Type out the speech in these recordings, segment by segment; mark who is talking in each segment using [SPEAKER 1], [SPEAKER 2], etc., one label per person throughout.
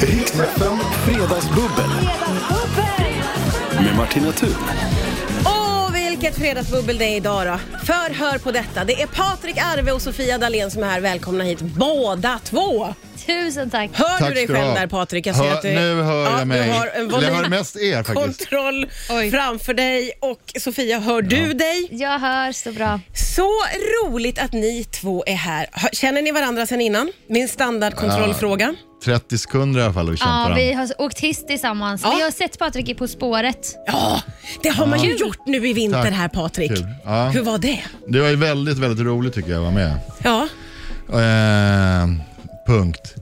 [SPEAKER 1] Riksfem Fredagsbubbel med Martina Thun.
[SPEAKER 2] Åh, vilket fredagsbubbel det är idag då. Förhör på detta. Det är Patrik Arve och Sofia Dalén som är här. Välkomna hit båda två.
[SPEAKER 3] Tusen tack.
[SPEAKER 2] Hör
[SPEAKER 4] Tack
[SPEAKER 2] du dig
[SPEAKER 4] ska du
[SPEAKER 2] själv
[SPEAKER 4] ha.
[SPEAKER 2] där Patrik? Jag ser
[SPEAKER 4] Hör-
[SPEAKER 2] att du,
[SPEAKER 4] nu hör jag mig.
[SPEAKER 2] Du har en
[SPEAKER 4] Eller jag hör mest er faktiskt.
[SPEAKER 2] Kontroll
[SPEAKER 3] Oj.
[SPEAKER 2] framför dig och Sofia, hör du dig?
[SPEAKER 3] Jag hör så bra.
[SPEAKER 2] Så roligt att ni två är här. Hör- Känner ni varandra sedan innan? Min standardkontrollfråga.
[SPEAKER 4] 30 sekunder i alla fall och kämpa
[SPEAKER 3] Ja,
[SPEAKER 4] varandra.
[SPEAKER 3] vi har åkt hiss tillsammans.
[SPEAKER 2] Ja.
[SPEAKER 3] Vi har sett Patrik i På spåret.
[SPEAKER 2] Ja, det har man ju gjort nu i vinter
[SPEAKER 4] Tack.
[SPEAKER 2] här Patrik.
[SPEAKER 4] Kul. Ja.
[SPEAKER 2] Hur var det?
[SPEAKER 4] Det var ju väldigt, väldigt roligt tycker jag att vara med.
[SPEAKER 2] Ja.
[SPEAKER 4] Eh, punkt.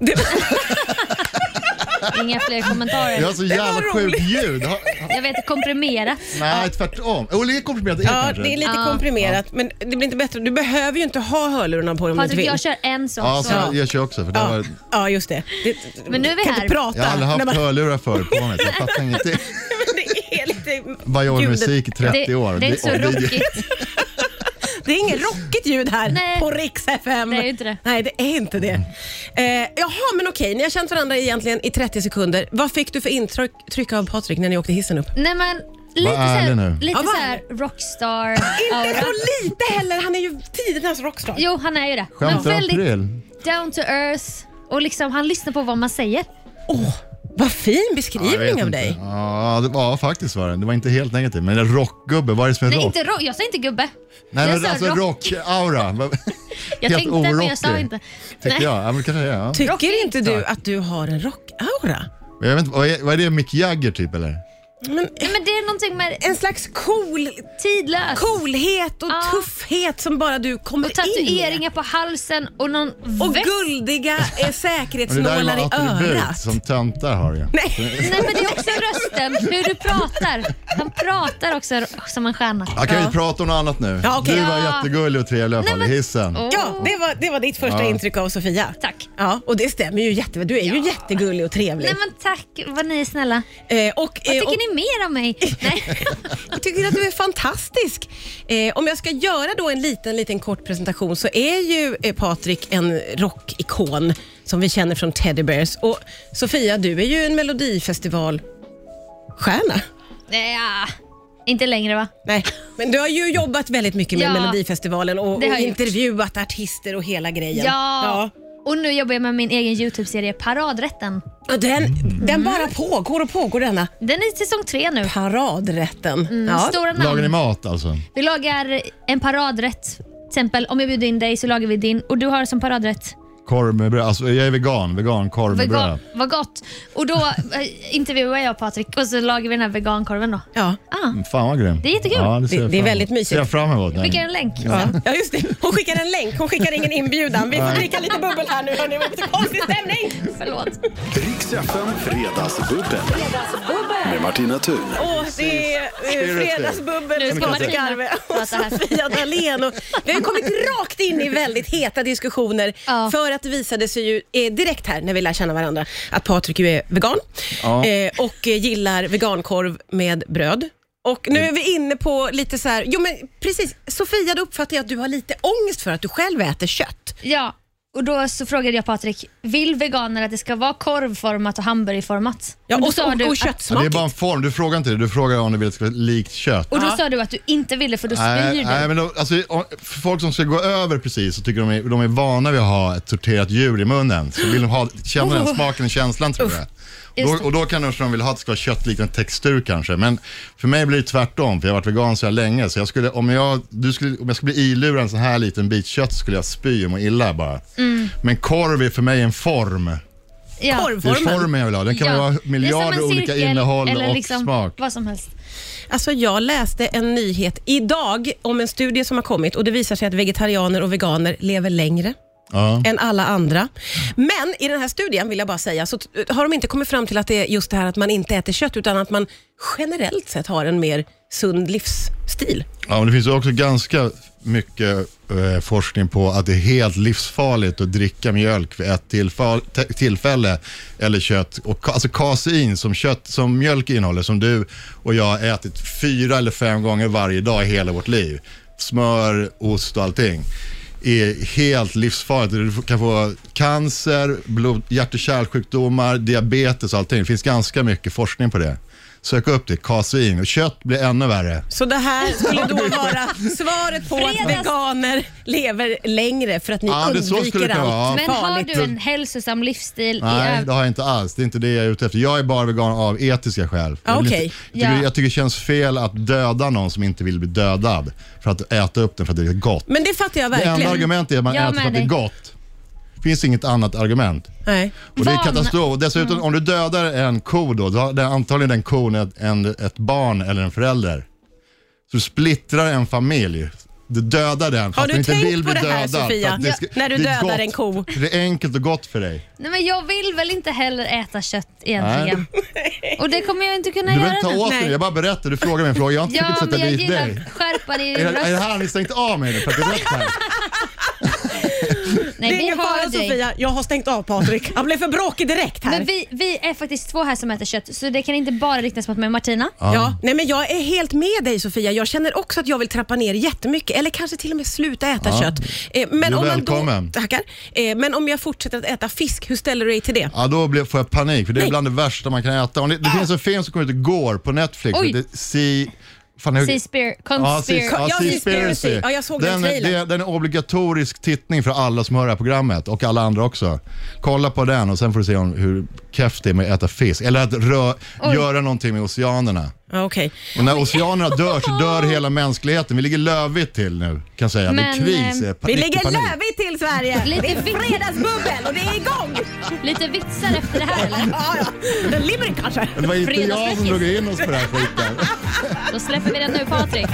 [SPEAKER 3] Inga fler kommentarer.
[SPEAKER 4] Jag har så
[SPEAKER 2] var
[SPEAKER 4] alltså jävla
[SPEAKER 2] roligt.
[SPEAKER 4] sjukt ljud. Ha,
[SPEAKER 3] Jag vet, komprimerat.
[SPEAKER 4] nej, tvärtom. Oh, det är komprimerat.
[SPEAKER 2] Ja, det är lite
[SPEAKER 3] Ja.
[SPEAKER 2] komprimerat, men det blir inte bättre. Du behöver ju inte ha hörlurarna på om du inte
[SPEAKER 3] Patrik,
[SPEAKER 2] vill.
[SPEAKER 3] jag kör en sån.
[SPEAKER 4] Ja,
[SPEAKER 3] så.
[SPEAKER 4] så jag, jag kör också. För det
[SPEAKER 2] Ja,
[SPEAKER 4] var,
[SPEAKER 2] ja, just det. det
[SPEAKER 3] Men nu är vi
[SPEAKER 2] kan
[SPEAKER 3] här.
[SPEAKER 2] inte prata.
[SPEAKER 4] jag har aldrig haft
[SPEAKER 2] när man-
[SPEAKER 4] hörlurar förr på mig. så Jag fattar ingenting.
[SPEAKER 2] det är lite...
[SPEAKER 4] Bara jag med
[SPEAKER 2] ljudet-
[SPEAKER 4] musik i 30
[SPEAKER 3] det,
[SPEAKER 4] år.
[SPEAKER 3] det är inte så
[SPEAKER 4] och
[SPEAKER 3] rockigt.
[SPEAKER 2] Det är inget rockigt ljud här
[SPEAKER 3] Nej.
[SPEAKER 2] på Rix FM.
[SPEAKER 3] Det är ju inte det.
[SPEAKER 2] Nej, det är inte det.
[SPEAKER 4] Mm.
[SPEAKER 2] Eh, jaha, men okej. Ni har känt varandra egentligen i 30 sekunder. Vad fick du för intryck av Patrik när ni åkte hissen upp?
[SPEAKER 3] Nej, men, lite så
[SPEAKER 4] ärlig nu.
[SPEAKER 3] här, lite
[SPEAKER 2] Ja, var
[SPEAKER 3] så här rockstar
[SPEAKER 2] Inte så
[SPEAKER 3] aura.
[SPEAKER 2] lite heller. Han är ju tidernas rockstar.
[SPEAKER 3] Jo, han är ju det. Men
[SPEAKER 4] Skämtar om
[SPEAKER 3] väldigt
[SPEAKER 4] Krill?
[SPEAKER 3] down to earth. Och liksom, han lyssnar på vad man säger.
[SPEAKER 2] Åh, vad fin
[SPEAKER 4] Ja, jag vet
[SPEAKER 2] beskrivning av
[SPEAKER 4] inte.
[SPEAKER 2] dig.
[SPEAKER 4] Ja, det, ja, faktiskt var det. Det var inte helt negativt. Men en rockgubbe, vad är det som är
[SPEAKER 3] Nej,
[SPEAKER 4] rock?
[SPEAKER 3] inte rock. Jag sa inte gubbe.
[SPEAKER 4] Nej,
[SPEAKER 3] jag
[SPEAKER 4] men
[SPEAKER 3] sa
[SPEAKER 4] alltså rock-aura.
[SPEAKER 3] Jag
[SPEAKER 4] helt
[SPEAKER 3] tänkte men jag sa
[SPEAKER 4] orockig,
[SPEAKER 3] inte.
[SPEAKER 4] Tycker jag. Ja, men kanske det är, ja.
[SPEAKER 2] Tycker
[SPEAKER 3] Rockigt.
[SPEAKER 2] inte du att du har en rockaura?
[SPEAKER 4] Men Jag vet inte, vad, är, vad är det? Mick Jagger typ eller?
[SPEAKER 2] Men
[SPEAKER 3] Nej, men det är någonting med
[SPEAKER 2] en slags cool,
[SPEAKER 3] tidlös.
[SPEAKER 2] coolhet och
[SPEAKER 3] Ja.
[SPEAKER 2] tuffhet som bara du kommer
[SPEAKER 3] Och
[SPEAKER 2] in i.
[SPEAKER 3] tatueringar på halsen och någon
[SPEAKER 2] Och
[SPEAKER 3] väst.
[SPEAKER 2] guldiga eh,
[SPEAKER 4] Men det där är
[SPEAKER 2] säkerhetsnålar i
[SPEAKER 4] något attribut
[SPEAKER 2] örat.
[SPEAKER 4] som töntar har ju.
[SPEAKER 2] Nej.
[SPEAKER 3] Nej men det är också rösten, hur du pratar. Han pratar också som en stjärna.
[SPEAKER 4] Jag kan ju prata om något annat nu.
[SPEAKER 2] Ja, okej.
[SPEAKER 4] Du var
[SPEAKER 3] Ja.
[SPEAKER 4] jättegullig och trevlig i alla fall i
[SPEAKER 3] men-
[SPEAKER 4] hissen.
[SPEAKER 3] Åh.
[SPEAKER 2] Ja, det var, det var ditt första
[SPEAKER 4] Ja.
[SPEAKER 2] intryck av Sofia.
[SPEAKER 3] Tack.
[SPEAKER 2] Ja, och det stämmer ju jättebra. Du är ju jättegullig och trevlig.
[SPEAKER 3] Nej men tack, vad ni är snälla.
[SPEAKER 2] eh, och, eh,
[SPEAKER 3] Vad
[SPEAKER 2] och,
[SPEAKER 3] tycker ni mer om mig? Nej.
[SPEAKER 2] jag tycker att du är fantastisk. Eh, om jag ska göra då en liten, liten kort presentation så är ju eh, Patrik en rockikon som vi känner från Teddy Bears. Och Sofia, du är ju en melodifestivalstjärna.
[SPEAKER 3] Nej, ja. Inte längre va?
[SPEAKER 2] Nej, men du har ju jobbat väldigt mycket med
[SPEAKER 3] Ja,
[SPEAKER 2] Melodifestivalen och, och
[SPEAKER 3] det har jag gjort.
[SPEAKER 2] intervjuat artister och hela grejen.
[SPEAKER 3] Ja. Och nu jobbar jag med min egen Youtube-serie Paradrätten.
[SPEAKER 2] Ja. Och Den, den bara pågår och pågår denna
[SPEAKER 3] Den är i säsong tre nu.
[SPEAKER 2] paradrätten. ja.
[SPEAKER 3] Stora
[SPEAKER 4] Lagar ni
[SPEAKER 3] namn.
[SPEAKER 4] mat alltså?
[SPEAKER 3] Vi lagar en paradrätt. Till exempel om jag bjuder in dig så lagar vi din och du har som paradrätt
[SPEAKER 4] Korv med bröd? Alltså, jag är vegan. Vegan korv med
[SPEAKER 3] vegan.
[SPEAKER 4] bröd.
[SPEAKER 3] Vad gott. Och då eh, intervjuar jag Patrik och så lagar vi den här vegankorven då.
[SPEAKER 2] Ja.
[SPEAKER 3] Ah.
[SPEAKER 4] Mm, Fan vad grymt.
[SPEAKER 3] Det är jättekul.
[SPEAKER 4] Ja, ser
[SPEAKER 2] Det-
[SPEAKER 4] jag
[SPEAKER 2] det är
[SPEAKER 4] fram
[SPEAKER 2] väldigt
[SPEAKER 4] emot.
[SPEAKER 2] mysigt.
[SPEAKER 4] Ser jag fram emot. Nej.
[SPEAKER 3] Skicka en länk sen.
[SPEAKER 2] Ja, just det. Hon skickar en länk, hon skickar ingen inbjudan. Vi får dricka lite bubbel här nu hörni, det var lite konstig stämning.
[SPEAKER 3] Förlåt.
[SPEAKER 1] Riksfem Fredagsbubbel med Martina Thun.
[SPEAKER 2] Åh, det är eh, fredagsbubbel
[SPEAKER 3] Nu
[SPEAKER 2] med
[SPEAKER 3] ska
[SPEAKER 2] Patrik
[SPEAKER 3] Martina
[SPEAKER 2] Arve och
[SPEAKER 3] prata här.
[SPEAKER 2] Sofia Dalén. Och Vi har ju kommit rakt in i väldigt heta diskussioner
[SPEAKER 3] Ja.
[SPEAKER 2] för att det visade sig ju eh, direkt här när vi lär känna varandra att Patrik ju är vegan
[SPEAKER 4] Ja.
[SPEAKER 2] eh, och eh, gillar vegankorv med bröd. Och nu är vi inne på lite så här, jo men precis, Sofia då uppfattar jag att du har lite ångest för att du själv äter kött.
[SPEAKER 3] Ja, och då så frågade jag Patrik, vill veganer att det ska vara korvformat och hamburgerformat?
[SPEAKER 2] Ja,
[SPEAKER 3] då
[SPEAKER 2] och,
[SPEAKER 3] sa
[SPEAKER 2] och,
[SPEAKER 3] du
[SPEAKER 2] och
[SPEAKER 3] att-
[SPEAKER 4] Ja, det är
[SPEAKER 2] köttsmakigt.
[SPEAKER 4] bara en form. Du frågar inte det. Du frågar om det vill ska vara likt kött.
[SPEAKER 3] Och då
[SPEAKER 2] Ja.
[SPEAKER 3] sa du att du inte ville för då spyr
[SPEAKER 4] Nej,
[SPEAKER 3] du.
[SPEAKER 4] nej, men då, alltså, om- för folk som ska gå över precis så tycker de är, de är vana vid att ha ett torterat djur i munnen. Så vill de ha, känna den smaken och känslan tror jag.
[SPEAKER 3] Oh. Just
[SPEAKER 4] Och då, och då kan de som de vill ha att det ska vara köttliknande textur kanske. Men för mig blir det tvärtom, för jag har varit vegan så här länge. Så jag skulle, om, jag, du skulle, om jag skulle bli ilurad en så här liten bit kött så skulle jag spy och må illa bara.
[SPEAKER 3] Mm.
[SPEAKER 4] Men korv är för mig en form.
[SPEAKER 3] Ja.
[SPEAKER 4] Det är
[SPEAKER 2] Korvformen.
[SPEAKER 4] formen jag vill ha. Den kan
[SPEAKER 3] Ja.
[SPEAKER 4] vara
[SPEAKER 3] Det är som en
[SPEAKER 4] miljarder olika
[SPEAKER 3] cirkel
[SPEAKER 4] innehåll
[SPEAKER 3] eller
[SPEAKER 4] och
[SPEAKER 3] liksom
[SPEAKER 4] smak.
[SPEAKER 3] Vad som helst.
[SPEAKER 2] Alltså jag läste en nyhet idag om en studie som har kommit och det visar sig att vegetarianer och veganer lever längre
[SPEAKER 4] Ja.
[SPEAKER 2] än alla andra. Men i den här studien vill jag bara säga så t- har de inte kommit fram till att det är just det här att man inte äter kött utan att man generellt sett har en mer sund livsstil.
[SPEAKER 4] Ja, men det finns ju också ganska mycket eh, forskning på att det är helt livsfarligt att dricka mjölk vid ett tillfall, te- tillfälle eller kött. Och, ka- alltså kasein som, kött, som mjölk innehåller, som du och jag har ätit fyra eller fem gånger varje dag i hela vårt liv. Smör, ost och allting. är helt livsfarligt. Du kan få cancer, blod, hjärt och kärlsjukdomar, diabetes och allting. Det finns ganska mycket forskning på det. Sök upp det, kasein. Och kött blir ännu värre.
[SPEAKER 2] Så det här skulle då vara svaret på att
[SPEAKER 3] Fredags-
[SPEAKER 2] veganer lever längre för att ni
[SPEAKER 4] Ja, det- så skulle
[SPEAKER 2] undviker
[SPEAKER 4] det kunna vara.
[SPEAKER 2] allt
[SPEAKER 3] Men har
[SPEAKER 2] farligt.
[SPEAKER 3] du en hälsosam livsstil?
[SPEAKER 4] Nej,
[SPEAKER 3] i
[SPEAKER 4] det har jag inte alls. Det är inte det jag är ute efter. Jag är bara vegan av etiska skäl. Jag, vill
[SPEAKER 2] Ah, okej.
[SPEAKER 4] inte, jag, tycker,
[SPEAKER 3] Ja.
[SPEAKER 4] jag tycker det känns fel att döda någon som inte vill bli dödad för att äta upp den för att det är gott.
[SPEAKER 2] Men det fattar jag
[SPEAKER 4] Det enda
[SPEAKER 2] Mm, verkligen.
[SPEAKER 4] argumentet är att man
[SPEAKER 3] Jag
[SPEAKER 4] äter för
[SPEAKER 3] med
[SPEAKER 4] att det är
[SPEAKER 3] dig.
[SPEAKER 4] gott. Det finns inget annat argument.
[SPEAKER 2] Nej.
[SPEAKER 4] Och det är
[SPEAKER 3] Van-
[SPEAKER 4] katastrof. Och Dessutom,
[SPEAKER 2] Mm.
[SPEAKER 4] om du dödar en ko då, då har den- antagligen den kon ett, en, ett barn eller en förälder. Så du splittrar en familj. Du dödar den för
[SPEAKER 2] Har
[SPEAKER 4] att
[SPEAKER 2] du
[SPEAKER 4] den inte
[SPEAKER 2] tänkt
[SPEAKER 4] vill
[SPEAKER 2] på
[SPEAKER 4] bli
[SPEAKER 2] det här,
[SPEAKER 4] dödad. för att
[SPEAKER 2] Sofia?
[SPEAKER 4] det ska-
[SPEAKER 2] När du
[SPEAKER 4] det är
[SPEAKER 2] dödar
[SPEAKER 4] gott.
[SPEAKER 2] en ko?
[SPEAKER 4] Det är enkelt och gott för dig.
[SPEAKER 3] Nej, men jag vill väl inte heller äta kött egentligen. Och det kommer jag inte kunna
[SPEAKER 4] Du behöver
[SPEAKER 3] göra
[SPEAKER 4] inte ta
[SPEAKER 3] nu.
[SPEAKER 4] åt dig,
[SPEAKER 2] Nej.
[SPEAKER 4] jag bara berättar. Du frågar mig en fråga, jag har inte
[SPEAKER 3] Ja,
[SPEAKER 4] försökt sätta
[SPEAKER 3] men jag
[SPEAKER 4] dit
[SPEAKER 3] gillar
[SPEAKER 4] dig.
[SPEAKER 3] att skärpa dig i
[SPEAKER 4] Är, det- är det
[SPEAKER 3] rösten.
[SPEAKER 4] här har ni stängt av mig nu för att det är rätt här?
[SPEAKER 3] Nej,
[SPEAKER 2] Det är
[SPEAKER 3] vi
[SPEAKER 2] ingen fara
[SPEAKER 3] har dig.
[SPEAKER 2] Sofia, jag har stängt av Patrik. Han blev för bråkig direkt här.
[SPEAKER 3] Men vi, vi är faktiskt två här som äter kött, så det kan inte bara riktas mot mig och Martina.
[SPEAKER 2] Ja, nej men jag är helt med dig Sofia. Jag känner också att jag vill trappa ner jättemycket eller kanske till och med sluta äta
[SPEAKER 4] Ja.
[SPEAKER 2] kött. Eh, Men
[SPEAKER 4] Du är
[SPEAKER 2] om man
[SPEAKER 4] välkommen.
[SPEAKER 2] Då, tackar. Eh, Men om jag fortsätter att äta fisk, hur ställer du dig till det?
[SPEAKER 4] Ja, då blir, får jag panik för det är
[SPEAKER 2] Nej.
[SPEAKER 4] bland det värsta man kan äta. Om det, det finns en film som kom ut igår på Netflix.
[SPEAKER 3] Oj.
[SPEAKER 4] Det, sea, fan, hur,
[SPEAKER 3] Sea Spear,
[SPEAKER 4] Ja,
[SPEAKER 3] Conspir.
[SPEAKER 4] Seas- ja,
[SPEAKER 2] Ja,
[SPEAKER 4] Seaspiracy.
[SPEAKER 2] Seaspiracy. Ja, jag såg den
[SPEAKER 4] den, är-
[SPEAKER 2] trailern.
[SPEAKER 4] det- den är obligatorisk tittning för alla som hör det här programmet och alla andra också. Kolla på den och sen får du se om hur keff det är med att äta fisk. Eller att rö,
[SPEAKER 3] Oj.
[SPEAKER 4] göra någonting med oceanerna.
[SPEAKER 2] Ja, Okej.
[SPEAKER 4] Och när oceanerna dör så dör hela mänskligheten. Vi ligger lövigt till nu kan jag säga. det
[SPEAKER 3] Men,
[SPEAKER 4] är kris.
[SPEAKER 3] eh,
[SPEAKER 4] eh, pa-
[SPEAKER 2] Vi
[SPEAKER 4] riktig
[SPEAKER 2] lägger
[SPEAKER 4] panik.
[SPEAKER 2] lövigt till Sverige.
[SPEAKER 3] Lite
[SPEAKER 2] det är
[SPEAKER 3] vitt.
[SPEAKER 2] fredagsbubbel och det är igång.
[SPEAKER 3] Lite vitsar efter det här eller?
[SPEAKER 2] Ja, ja. Den limerick kanske.
[SPEAKER 4] Det var inte jag som
[SPEAKER 3] Fredagsfräckis.
[SPEAKER 4] drog in oss på den här skiten.
[SPEAKER 3] Då släpper vi den nu Patrik.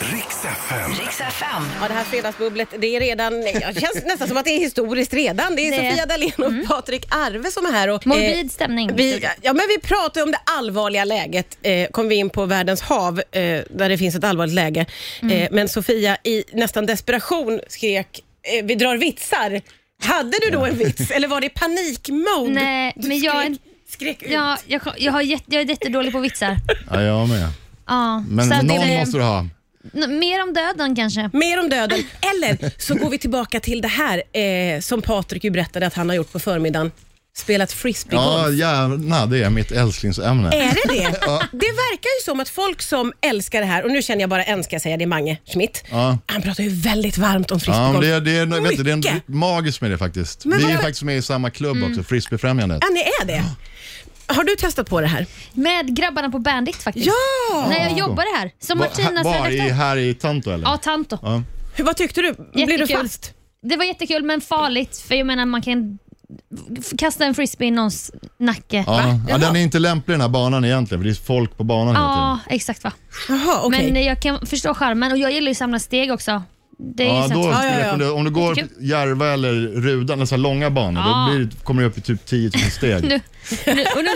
[SPEAKER 1] Riks FM.
[SPEAKER 5] Riks FM.
[SPEAKER 2] Ja, det här fredagsbubblet, det är redan, det känns nästan som att det är historiskt redan. Det är
[SPEAKER 3] Det- Mm.
[SPEAKER 2] Sofia Dalén och Patrik Arve som är här. Och, eh,
[SPEAKER 3] Morbid stämning.
[SPEAKER 2] Vi, ja, men vi pratar ju om det allvarliga läget. Eh, kom vi in på världens hav, eh, där det finns ett allvarligt läge.
[SPEAKER 3] Mm.
[SPEAKER 2] Eh, men Sofia, i nästan desperation skrek, eh, vi drar vitsar. Hade du då en vits, eller var det panikmode?
[SPEAKER 3] Nej,
[SPEAKER 2] Du
[SPEAKER 3] men jag är
[SPEAKER 2] skrek,
[SPEAKER 3] en-
[SPEAKER 2] skrek ut.
[SPEAKER 3] Ja, jag, kom- jag, har jätte, jag är jättedålig på vitsar.
[SPEAKER 4] Ja, jag med.
[SPEAKER 3] Ja,
[SPEAKER 4] Men
[SPEAKER 3] så att
[SPEAKER 4] någon
[SPEAKER 3] det-
[SPEAKER 4] måste du ha.
[SPEAKER 3] Nå- Mer om döden kanske.
[SPEAKER 2] Mer om döden, eller så går vi tillbaka till det här eh, som Patrik ju berättade att han har gjort på förmiddagen. Spelat frisbeegolf.
[SPEAKER 4] Ja, gärna. Det är mitt älsklingsämne.
[SPEAKER 2] Är det det? Det verkar ju som att folk som älskar det här, och nu känner jag bara en ska jag säga, det är Mange Schmidt.
[SPEAKER 4] Ja.
[SPEAKER 2] Han pratar ju väldigt varmt om
[SPEAKER 4] Ja, men
[SPEAKER 2] frisbeegolf.
[SPEAKER 4] det, är- det, är, vet du, det är en-
[SPEAKER 2] Mycket.
[SPEAKER 4] magiskt med det faktiskt.
[SPEAKER 2] Men
[SPEAKER 4] vi är
[SPEAKER 2] varför-
[SPEAKER 4] faktiskt med i samma klubb
[SPEAKER 3] Mm.
[SPEAKER 4] också, Frisbeefrämjandet.
[SPEAKER 2] Ja, ni är det? Har du testat på det här?
[SPEAKER 3] Med grabbarna på Bandit faktiskt.
[SPEAKER 2] Ja!
[SPEAKER 3] När jag jobbade här. Som
[SPEAKER 4] Va-
[SPEAKER 3] Martinas
[SPEAKER 4] var i,
[SPEAKER 3] redaktör.
[SPEAKER 4] här i Tanto eller?
[SPEAKER 3] Ja, Tanto.
[SPEAKER 4] Ja.
[SPEAKER 2] Hur, vad tyckte du? Blev du
[SPEAKER 3] Jättekul.
[SPEAKER 2] fast?
[SPEAKER 3] Det var jättekul men farligt för jag menar man kan f- kasta en frisbee i någons nacke.
[SPEAKER 4] Ja. ja,
[SPEAKER 2] Jaha.
[SPEAKER 4] den är inte lämplig den här banan egentligen, för det är folk på banan hela tiden.
[SPEAKER 3] Ja, exakt va.
[SPEAKER 2] Jaha, okej.
[SPEAKER 3] Men eh, jag kan förstå charmen och jag gillar ju att samla steg också. Det är
[SPEAKER 4] Ja,
[SPEAKER 3] ju
[SPEAKER 4] då
[SPEAKER 3] så att,
[SPEAKER 4] skulle
[SPEAKER 2] Ja, ja,
[SPEAKER 4] jag
[SPEAKER 2] ja.
[SPEAKER 4] rekommendera- Om du går
[SPEAKER 3] Jättekul.
[SPEAKER 4] Järva eller Rudan, alltså långa banor,
[SPEAKER 3] Ja.
[SPEAKER 4] då blir, det- kommer du upp i typ 10 000 steg.
[SPEAKER 3] nu, nu, och nu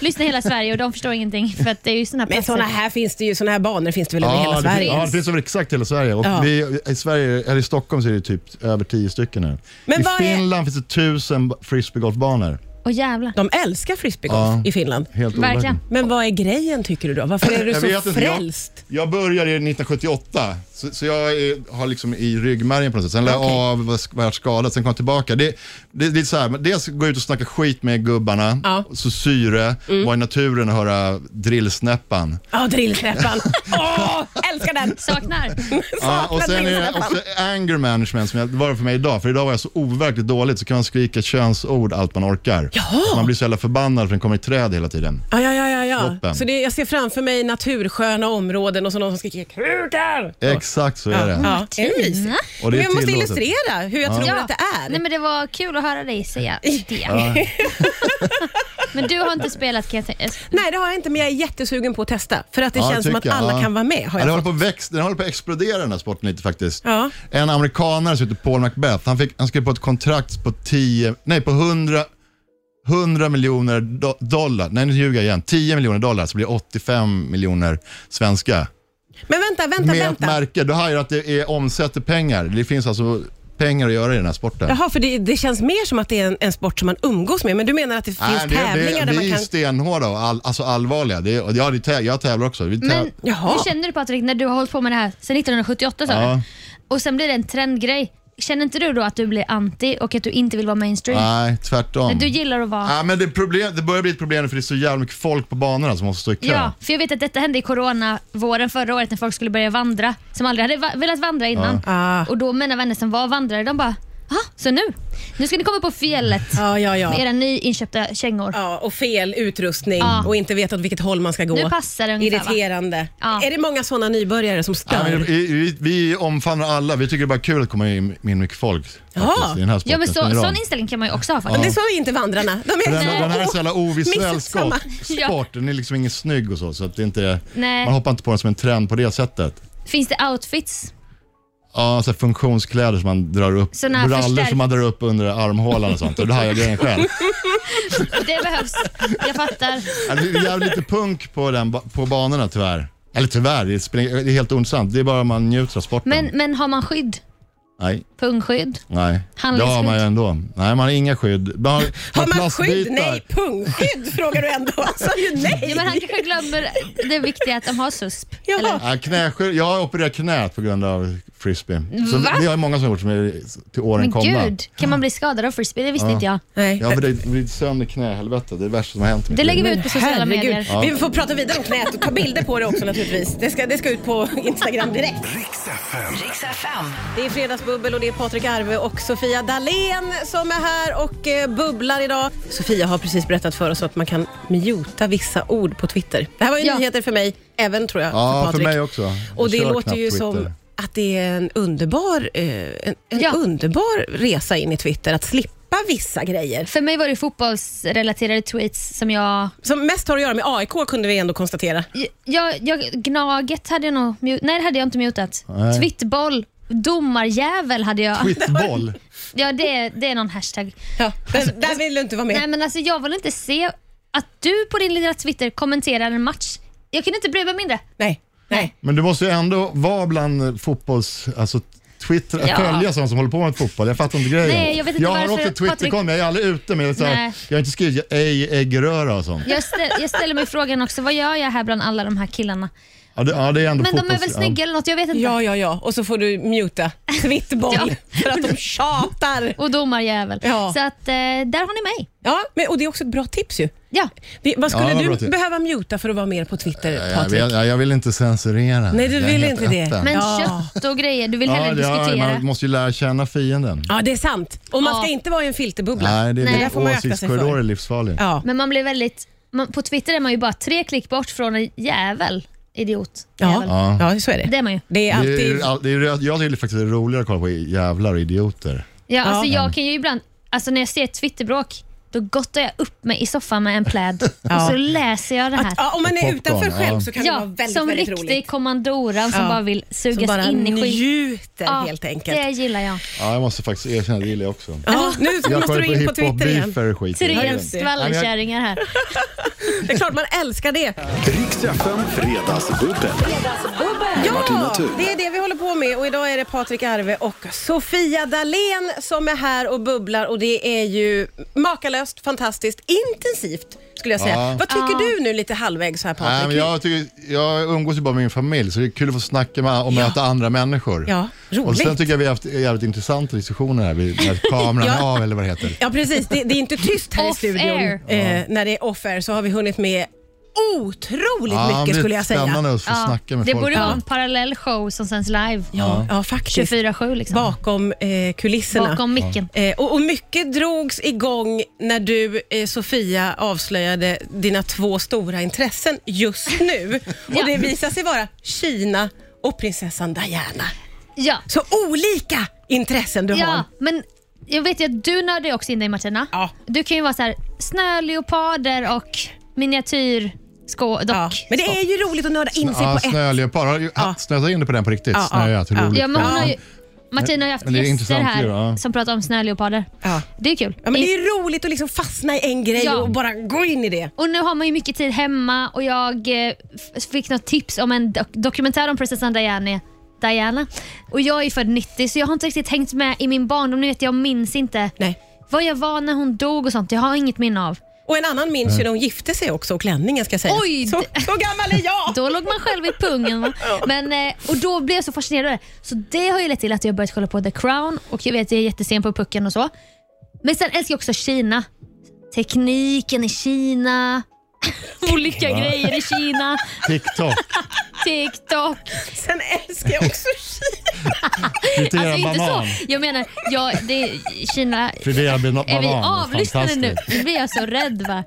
[SPEAKER 3] lyssnar hela Sverige och de förstår ingenting för att det är ju såna här
[SPEAKER 2] Men
[SPEAKER 3] platser.
[SPEAKER 2] såna här finns det ju, såna här banor finns det väl över
[SPEAKER 4] Ja
[SPEAKER 2] hela
[SPEAKER 4] det, finns,
[SPEAKER 2] Sverige?
[SPEAKER 4] ja, det finns över exakt hela Sverige. Och
[SPEAKER 2] Ja.
[SPEAKER 4] vi, I Sverige, eller i Stockholm så är det typ över 10 stycken nu.
[SPEAKER 2] Men
[SPEAKER 4] I
[SPEAKER 2] vad är-
[SPEAKER 4] Finland finns det tusen frisbeegolfbanor.
[SPEAKER 3] Åh jävlar.
[SPEAKER 2] De älskar frisbeegolf
[SPEAKER 4] Ja.
[SPEAKER 2] i Finland.
[SPEAKER 4] Helt
[SPEAKER 3] Verkligen.
[SPEAKER 4] overkligt.
[SPEAKER 2] Men vad är grejen tycker du då? Varför är du
[SPEAKER 4] Jag vet
[SPEAKER 2] så
[SPEAKER 4] inte, jag-
[SPEAKER 2] frälst?
[SPEAKER 4] Jag började 1978, så, så jag är, har liksom i ryggmärgen på något sätt. Sen la jag
[SPEAKER 2] Okej.
[SPEAKER 4] av, var, var skadad, sen kom jag tillbaka. Det, det, det är så här, men dels gå ut och snacka skit med gubbarna,
[SPEAKER 2] Ja. Mm.
[SPEAKER 4] så syre, vara i naturen och höra drillsnäppan.
[SPEAKER 2] Ja, drillknäppan. Åh, älskar den!
[SPEAKER 3] Saknar.
[SPEAKER 4] Ja, och sen är det också anger management som jag, det var det för mig idag, för idag var jag så overkligt dåligt så kan man skrika könsord allt man orkar.
[SPEAKER 2] Jaha.
[SPEAKER 4] Man blir så jävla förbannad för den kommer i träd hela tiden.
[SPEAKER 2] Ja, ja, ja, ja, ja.
[SPEAKER 4] Toppen.
[SPEAKER 2] Så det, jag ser framför mig natursköna områden och så någon som skriker kukar.
[SPEAKER 4] Exakt så är det.
[SPEAKER 2] Ja, det är mysigt.
[SPEAKER 4] Och det är
[SPEAKER 2] Men jag måste
[SPEAKER 4] tillåtet.
[SPEAKER 2] illustrera hur jag tror att det är.
[SPEAKER 3] Nej, men det var kul att höra dig säga det. men du har inte spelat kan jag tänka alltså,
[SPEAKER 2] Nej, det har jag inte, men jag är jättesugen på att testa. För att det
[SPEAKER 4] Ja,
[SPEAKER 2] känns som att
[SPEAKER 4] tycker jag.
[SPEAKER 2] alla
[SPEAKER 4] Ja.
[SPEAKER 2] kan vara med. Har
[SPEAKER 4] ja,
[SPEAKER 2] jag
[SPEAKER 4] det håller
[SPEAKER 2] fått.
[SPEAKER 4] på att växa, den håller på att explodera den här sporten lite faktiskt.
[SPEAKER 2] Ja.
[SPEAKER 4] En amerikanare som heter Paul Macbeth, han, fick, han skrev på ett kontrakt på 10, nej på 100, 100 miljoner do, dollar, nej nu ljuger jag igen, 10 miljoner dollar så blir det 85 miljoner svenska.
[SPEAKER 2] Men vänta, vänta,
[SPEAKER 4] Med ett
[SPEAKER 2] vänta.
[SPEAKER 4] märke, du hör ju att det är, omsätter pengar. Det finns alltså pengar att göra i den här sporten.
[SPEAKER 2] Jaha, för det, det känns mer som att det är en, en sport som man umgås med. Men du menar att det
[SPEAKER 4] Nej,
[SPEAKER 2] finns
[SPEAKER 4] det,
[SPEAKER 2] tävlingar
[SPEAKER 4] det,
[SPEAKER 2] där
[SPEAKER 4] vi
[SPEAKER 2] man
[SPEAKER 4] är
[SPEAKER 2] kan...
[SPEAKER 4] stenhårda och all, alltså allvarliga. Det, är- och jag, jag tävlar också. Vi täv-
[SPEAKER 3] Men
[SPEAKER 2] Jaha.
[SPEAKER 3] hur känner du Patrik när du har hållit på med det här sedan 1978 sa
[SPEAKER 4] Ja.
[SPEAKER 3] du? och sen blir det en trendgrej. Känner inte du då att du blir anti och att du inte vill vara mainstream?
[SPEAKER 4] Nej, tvärtom.
[SPEAKER 3] Du gillar att vara...
[SPEAKER 4] Ja, men det, är problem, det börjar bli ett problem för det är så jävla mycket folk på banorna som måste stå i kö.
[SPEAKER 3] Ja, för jag vet att detta hände i corona-våren förra året när folk skulle börja vandra, som aldrig hade va- velat vandra innan.
[SPEAKER 2] Ah.
[SPEAKER 3] Och då mina vänner som var vandrare, de bara “Jaha, så nu? Nu ska ni komma på fjället
[SPEAKER 2] Ja, ja, ja.
[SPEAKER 3] med era nyinköpta kängor?”
[SPEAKER 2] Ja, och fel utrustning och inte veta åt vilket håll man ska gå.
[SPEAKER 3] Nu passar det ungefär, va?
[SPEAKER 2] Irriterande.
[SPEAKER 3] Ja.
[SPEAKER 2] Är det många sådana nybörjare som
[SPEAKER 4] Ja,
[SPEAKER 2] stör?
[SPEAKER 4] men vi, vi, vi omfamnar alla, vi tycker det är bara kul att komma in in mycket folk.
[SPEAKER 2] Ja.
[SPEAKER 4] Faktiskt, i den här sporten.
[SPEAKER 3] Ja, men så,
[SPEAKER 4] Sen är de-
[SPEAKER 3] sån inställning kan man ju också ha faktiskt.
[SPEAKER 2] Det sa ju inte vandrarna. De är
[SPEAKER 4] Den,
[SPEAKER 2] Nej.
[SPEAKER 4] den här är så jävla ovisuell
[SPEAKER 2] Missunnsamma.
[SPEAKER 4] sport.
[SPEAKER 3] Ja.
[SPEAKER 4] sport. Den är liksom ingen snygg och så. så att det inte,
[SPEAKER 3] Nej.
[SPEAKER 4] man hoppar inte på den som en trend på det sättet.
[SPEAKER 3] Finns det outfits?
[SPEAKER 4] Ja, så här funktionskläder som man drar upp,
[SPEAKER 3] Såna här
[SPEAKER 4] brallor
[SPEAKER 3] förstärk-
[SPEAKER 4] som man drar upp under armhålan och sånt. Och det här jag grejen själv.
[SPEAKER 3] Det behövs. Jag fattar.
[SPEAKER 4] Ja, Alltså, Det är jävligt lite punk på, den, ba- på banorna tyvärr. Eller tyvärr, det, spelar- det är helt ondsamt. Det är bara om man njuter av sporten.
[SPEAKER 3] Men, men har man skydd?
[SPEAKER 4] Nej,
[SPEAKER 3] Pungskydd?
[SPEAKER 4] nej. Det
[SPEAKER 3] Handlingsskydd.
[SPEAKER 4] har man ju ändå. Nej, man har inga skydd. Man har,
[SPEAKER 2] Har man skydd?
[SPEAKER 4] plastbitar.
[SPEAKER 2] Nej, pungskydd frågar du ändå. Han sa ju nej.
[SPEAKER 3] Ja, men han kanske glömmer det viktiga att de har susp.
[SPEAKER 2] Ja.
[SPEAKER 4] Ja, knäskydd. Jag har opererat knät på grund av frisbee. Så
[SPEAKER 3] Va?
[SPEAKER 4] Det har ju många som har gjort som är till åren
[SPEAKER 3] Men
[SPEAKER 4] komna.
[SPEAKER 3] gud, kan man bli skadad av frisbee? Det visste inte jag.
[SPEAKER 2] Nej.
[SPEAKER 4] Jag har vridit- vridit sönder knähelvetet. Det är det värsta som har hänt i mitt
[SPEAKER 3] Det
[SPEAKER 4] liv.
[SPEAKER 3] lägger vi ut på sociala medier.
[SPEAKER 2] Vi får prata vidare om knät och ta bilder på det också naturligtvis. Det ska, det ska ut på Instagram direkt.
[SPEAKER 1] Riks FM.
[SPEAKER 5] Riks FM.
[SPEAKER 2] Det är Fredagsbubbel och det är Patrik Arve och Sofia Dalén som är här och eh, bubblar idag. Sofia har precis berättat för oss att man kan muta vissa ord på Twitter. Det här var ju
[SPEAKER 3] Ja.
[SPEAKER 2] nyheter för mig, även tror jag
[SPEAKER 4] Ja,
[SPEAKER 2] för
[SPEAKER 4] för
[SPEAKER 2] Patrik.
[SPEAKER 4] mig också. Jag
[SPEAKER 2] Och det
[SPEAKER 4] kör
[SPEAKER 2] låter
[SPEAKER 4] knappt
[SPEAKER 2] ju som
[SPEAKER 4] Twitter.
[SPEAKER 2] att det är en underbar, eh, en, en
[SPEAKER 3] Ja.
[SPEAKER 2] underbar resa in i Twitter, att slippa vissa grejer.
[SPEAKER 3] För mig var det fotbollsrelaterade tweets som jag...
[SPEAKER 2] Som mest har att göra med AIK kunde vi ändå konstatera.
[SPEAKER 3] jag, jag gnaget hade jag nog... mute- Nej, det hade jag inte mutat.
[SPEAKER 4] Nej.
[SPEAKER 3] Twittboll, domarjävel hade jag.
[SPEAKER 4] Twittboll.
[SPEAKER 3] Ja, det, det är någon hashtag.
[SPEAKER 2] Ja, där, Alltså, där vill du inte vara med.
[SPEAKER 3] Nej, men alltså jag vill inte se att du på din lilla Twitter kommenterar en match. Jag kunde inte bry mig mindre.
[SPEAKER 2] Nej. Nej.
[SPEAKER 3] Nej.
[SPEAKER 4] Men du måste ju ändå vara bland eh, fotbolls... Alltså, Twitter,
[SPEAKER 3] Ja.
[SPEAKER 4] följa sådana som håller på med fotboll. Jag fattar inte grejen.
[SPEAKER 3] Nej, jag vet inte
[SPEAKER 4] har
[SPEAKER 3] varför,
[SPEAKER 4] också Twitterkonto,
[SPEAKER 3] Patrik.
[SPEAKER 4] jag är aldrig ute men jag är så här,
[SPEAKER 3] Nej.
[SPEAKER 4] jag har inte skrivit ej äggröra och sånt.
[SPEAKER 3] Jag, stä- jag ställer mig frågan också, vad gör jag här bland alla de här killarna?
[SPEAKER 4] Ja, det, ja, det är ändå
[SPEAKER 3] Men de är
[SPEAKER 4] fotbolls-
[SPEAKER 3] väl snygga eller något, jag vet inte.
[SPEAKER 2] Ja, ja, ja. Och så får du muta Twittboll
[SPEAKER 3] Ja.
[SPEAKER 2] för att de tjatar.
[SPEAKER 3] Och domarjävel.
[SPEAKER 2] Ja.
[SPEAKER 3] Så att eh, där har ni mig.
[SPEAKER 2] Ja, men, och det är också ett bra tips ju.
[SPEAKER 3] Ja.
[SPEAKER 2] Vi, vad skulle
[SPEAKER 4] Ja, vad bra
[SPEAKER 2] du
[SPEAKER 4] tips.
[SPEAKER 2] behöva muta för att vara mer på
[SPEAKER 4] Ja,
[SPEAKER 2] Twitter,
[SPEAKER 4] Eh, jag,
[SPEAKER 2] Patrik?
[SPEAKER 4] vill, ja, jag vill inte censurera.
[SPEAKER 2] Nej, du
[SPEAKER 4] Jag är
[SPEAKER 2] vill
[SPEAKER 4] helt
[SPEAKER 2] inte det.
[SPEAKER 4] öppen.
[SPEAKER 3] Men
[SPEAKER 2] Ja.
[SPEAKER 3] kött och grejer, du vill
[SPEAKER 4] ja,
[SPEAKER 3] hellre
[SPEAKER 4] det- ja,
[SPEAKER 3] diskutera.
[SPEAKER 4] Man måste ju lära känna fienden.
[SPEAKER 2] Ja, det är sant. Och man
[SPEAKER 3] Ja.
[SPEAKER 2] ska inte vara i en filterbubbla.
[SPEAKER 4] Nej, det,
[SPEAKER 3] Nej.
[SPEAKER 4] är
[SPEAKER 2] Där
[SPEAKER 4] det
[SPEAKER 2] får man ju akta sig
[SPEAKER 4] åsiktskorridor
[SPEAKER 2] för.
[SPEAKER 4] är livsfarlig.
[SPEAKER 2] Ja.
[SPEAKER 3] Men man blir väldigt... Man, på Twitter är man ju bara tre klick bort från en jävel. Idiot.
[SPEAKER 2] Ja.
[SPEAKER 3] Jävel.
[SPEAKER 2] Ja. så är det.
[SPEAKER 3] Det är man ju.
[SPEAKER 2] Det är
[SPEAKER 4] Det
[SPEAKER 2] alltid...
[SPEAKER 4] är, all- det är, jag tycker faktiskt det är roligare att kolla på jävlar och idioter.
[SPEAKER 3] Ja, alltså
[SPEAKER 2] Ja. Mm.
[SPEAKER 3] jag kan ju ibland, alltså när jag ser ett twitterbråk, då gottar jag upp mig i soffan med en pläd
[SPEAKER 2] Ja.
[SPEAKER 3] och så läser jag det här.
[SPEAKER 2] Ja, om man är
[SPEAKER 4] Popcorn,
[SPEAKER 2] utanför själv
[SPEAKER 4] ja.
[SPEAKER 2] så kan det vara
[SPEAKER 3] ja,
[SPEAKER 2] väldigt,
[SPEAKER 3] som
[SPEAKER 2] väldigt
[SPEAKER 3] riktig
[SPEAKER 2] roligt.
[SPEAKER 3] kommandoran som
[SPEAKER 2] Ja.
[SPEAKER 3] bara vill
[SPEAKER 2] Som
[SPEAKER 3] sugas
[SPEAKER 2] bara
[SPEAKER 3] in i skit.
[SPEAKER 2] njuter helt enkelt.
[SPEAKER 3] Det gillar jag.
[SPEAKER 4] Ja, jag måste faktiskt erkänna, det gillar jag också.
[SPEAKER 2] Ja, nu
[SPEAKER 4] Jag
[SPEAKER 2] måste
[SPEAKER 4] kollar
[SPEAKER 2] du in på Twitter igen.
[SPEAKER 4] hiphop-beefer och skit.
[SPEAKER 3] Tre
[SPEAKER 2] Herregud.
[SPEAKER 3] skvallerkärringar här.
[SPEAKER 2] Det är klart man älskar det.
[SPEAKER 1] Riks FM Fredagsbubbel. Martina
[SPEAKER 2] Ja,
[SPEAKER 1] Thun.
[SPEAKER 2] det är det vi håller på med och idag är det Patrik Arve och Sofia Dalén som är här och bubblar och det är ju makalöst, fantastiskt, intensivt skulle jag säga.
[SPEAKER 4] Ja.
[SPEAKER 2] Vad tycker
[SPEAKER 3] Ja.
[SPEAKER 2] du nu lite halvvägs här Patrik?
[SPEAKER 4] Nej, men jag, tycker, jag umgås ju bara med min familj, så det är kul att få snacka med och möta andra människor.
[SPEAKER 2] Ja, roligt.
[SPEAKER 4] Och sen tycker jag vi har haft jävligt intressanta diskussioner här, vid- när kameran är
[SPEAKER 2] Ja.
[SPEAKER 4] av eller vad det heter.
[SPEAKER 2] Ja precis, det, det är inte tyst här i
[SPEAKER 3] Off
[SPEAKER 2] studion.
[SPEAKER 3] air.
[SPEAKER 2] Eh, när det är off air så har vi hunnit med otroligt
[SPEAKER 4] Ja, men
[SPEAKER 2] mycket
[SPEAKER 4] det
[SPEAKER 2] skulle
[SPEAKER 4] är
[SPEAKER 2] jag säga.
[SPEAKER 4] spännande att få
[SPEAKER 3] Ja,
[SPEAKER 4] snacka med
[SPEAKER 3] det
[SPEAKER 4] folk.
[SPEAKER 3] borde vara en parallell show som sänds live.
[SPEAKER 2] Ja, ja faktiskt.
[SPEAKER 3] 24-7 liksom.
[SPEAKER 2] Bakom eh, kulisserna.
[SPEAKER 3] Bakom micken.
[SPEAKER 2] Eh, och, och mycket drogs igång när du, eh, Sofia, avslöjade dina två stora intressen just nu. Och det visar sig vara Kina och prinsessan Diana.
[SPEAKER 3] Ja.
[SPEAKER 2] Så olika intressen du har.
[SPEAKER 3] Ja, men jag vet ju att du nördar ju också in dig Martina.
[SPEAKER 2] Ja.
[SPEAKER 3] Du kan ju vara så här snöleoparder och miniatyr skå, dock.
[SPEAKER 2] Ja, men det är ju roligt att nörda in sig
[SPEAKER 4] Ja,
[SPEAKER 2] på ett.
[SPEAKER 4] snöleopard. Har du
[SPEAKER 2] Ja.
[SPEAKER 4] snöat in dig på den på riktigt?
[SPEAKER 2] Ja, ja,
[SPEAKER 4] Snöat, hur
[SPEAKER 2] ja.
[SPEAKER 4] roligt.
[SPEAKER 3] Ja, men hon har ju, Martina har ju
[SPEAKER 4] Men det är
[SPEAKER 3] haft gäster
[SPEAKER 4] intressant
[SPEAKER 3] här
[SPEAKER 4] ju, ja.
[SPEAKER 3] som pratar om snöleoparder.
[SPEAKER 2] Ja.
[SPEAKER 3] Det är kul.
[SPEAKER 2] Ja, men det är ju roligt att liksom fastna i en grej
[SPEAKER 3] Ja.
[SPEAKER 2] och bara gå in i det.
[SPEAKER 3] Och nu har man ju mycket tid hemma och jag eh, f- fick något tips om en dok- dokumentär om prinsessan Diana. Diana. Och jag är född 90 så jag har inte riktigt hängt med i min barndom. Ni vet, jag minns inte
[SPEAKER 2] Nej.
[SPEAKER 3] vad jag var när hon dog och sånt. Jag har inget minne av.
[SPEAKER 2] Och en annan minns ju när hon gifte sig också och klänningen ska jag säga.
[SPEAKER 3] Oj,
[SPEAKER 2] så,
[SPEAKER 3] det-
[SPEAKER 2] så gammal är jag!
[SPEAKER 3] Då låg man själv i pungen. Va? Men, eh, och då blev jag så fascinerad. av det. Så det har ju lett till att jag börjat kolla på The Crown och jag vet att jag är jättesen på pucken och så. Men sen älskar jag också Kina. Tekniken i Kina. Olika grejer i Kina.
[SPEAKER 4] TikTok.
[SPEAKER 3] TikTok.
[SPEAKER 2] Sen älskar jag också Kina.
[SPEAKER 4] Fritera
[SPEAKER 3] Alltså inte så.
[SPEAKER 4] banan.
[SPEAKER 3] Jag menar, jag, det, Kina
[SPEAKER 4] Fritera bana-
[SPEAKER 3] Är vi
[SPEAKER 4] banan.
[SPEAKER 3] avlyssnade nu?
[SPEAKER 4] Fantastiskt.
[SPEAKER 3] Nu blir jag så rädd. Va?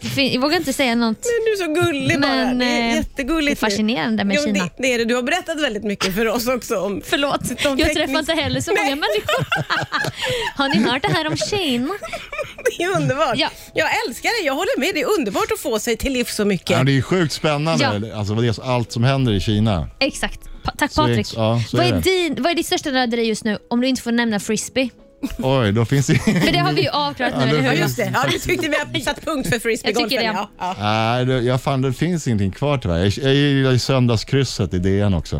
[SPEAKER 3] Det fin- Jag vågar inte säga något.
[SPEAKER 2] Du är så gullig bara.
[SPEAKER 3] Men,
[SPEAKER 2] Det är
[SPEAKER 3] eh,
[SPEAKER 2] jättegulligt.
[SPEAKER 3] det är fascinerande med
[SPEAKER 2] Jo,
[SPEAKER 3] Kina.
[SPEAKER 2] Det, det är det. Du har berättat väldigt mycket för oss också om
[SPEAKER 3] Förlåt,
[SPEAKER 2] De
[SPEAKER 3] jag
[SPEAKER 2] teknisk-
[SPEAKER 3] träffar inte heller så många människor. Har ni hört det här om Kina?
[SPEAKER 2] Det är underbart.
[SPEAKER 3] Ja.
[SPEAKER 2] Jag älskar det. Jag håller med. Det är underbart att få sig till livs så mycket.
[SPEAKER 4] Ja, det är ju sjukt spännande,
[SPEAKER 3] Ja.
[SPEAKER 4] alltså, vad det är, allt som händer i Kina.
[SPEAKER 3] Exakt. Pa- tack
[SPEAKER 4] Så är-
[SPEAKER 3] Patrik.
[SPEAKER 4] ja, så är
[SPEAKER 3] vad, är
[SPEAKER 4] det.
[SPEAKER 3] din, vad är ditt största nörderi just nu om du inte får nämna frisbee?
[SPEAKER 4] Oj, då finns det
[SPEAKER 3] För det har vi ju avklarat nu,
[SPEAKER 4] Mm. Ja,
[SPEAKER 3] eller
[SPEAKER 2] Ja,
[SPEAKER 4] det-
[SPEAKER 3] hur?
[SPEAKER 2] just det. Ja, du tyckte vi hade satt punkt för
[SPEAKER 3] Jag tycker
[SPEAKER 2] frisbeegolfen.
[SPEAKER 3] det.
[SPEAKER 2] Ja. Ja.
[SPEAKER 4] Nej, det- jag fan, det finns ingenting kvar tyvärr. Jag, jag gillar ju söndagskrysset i DN också.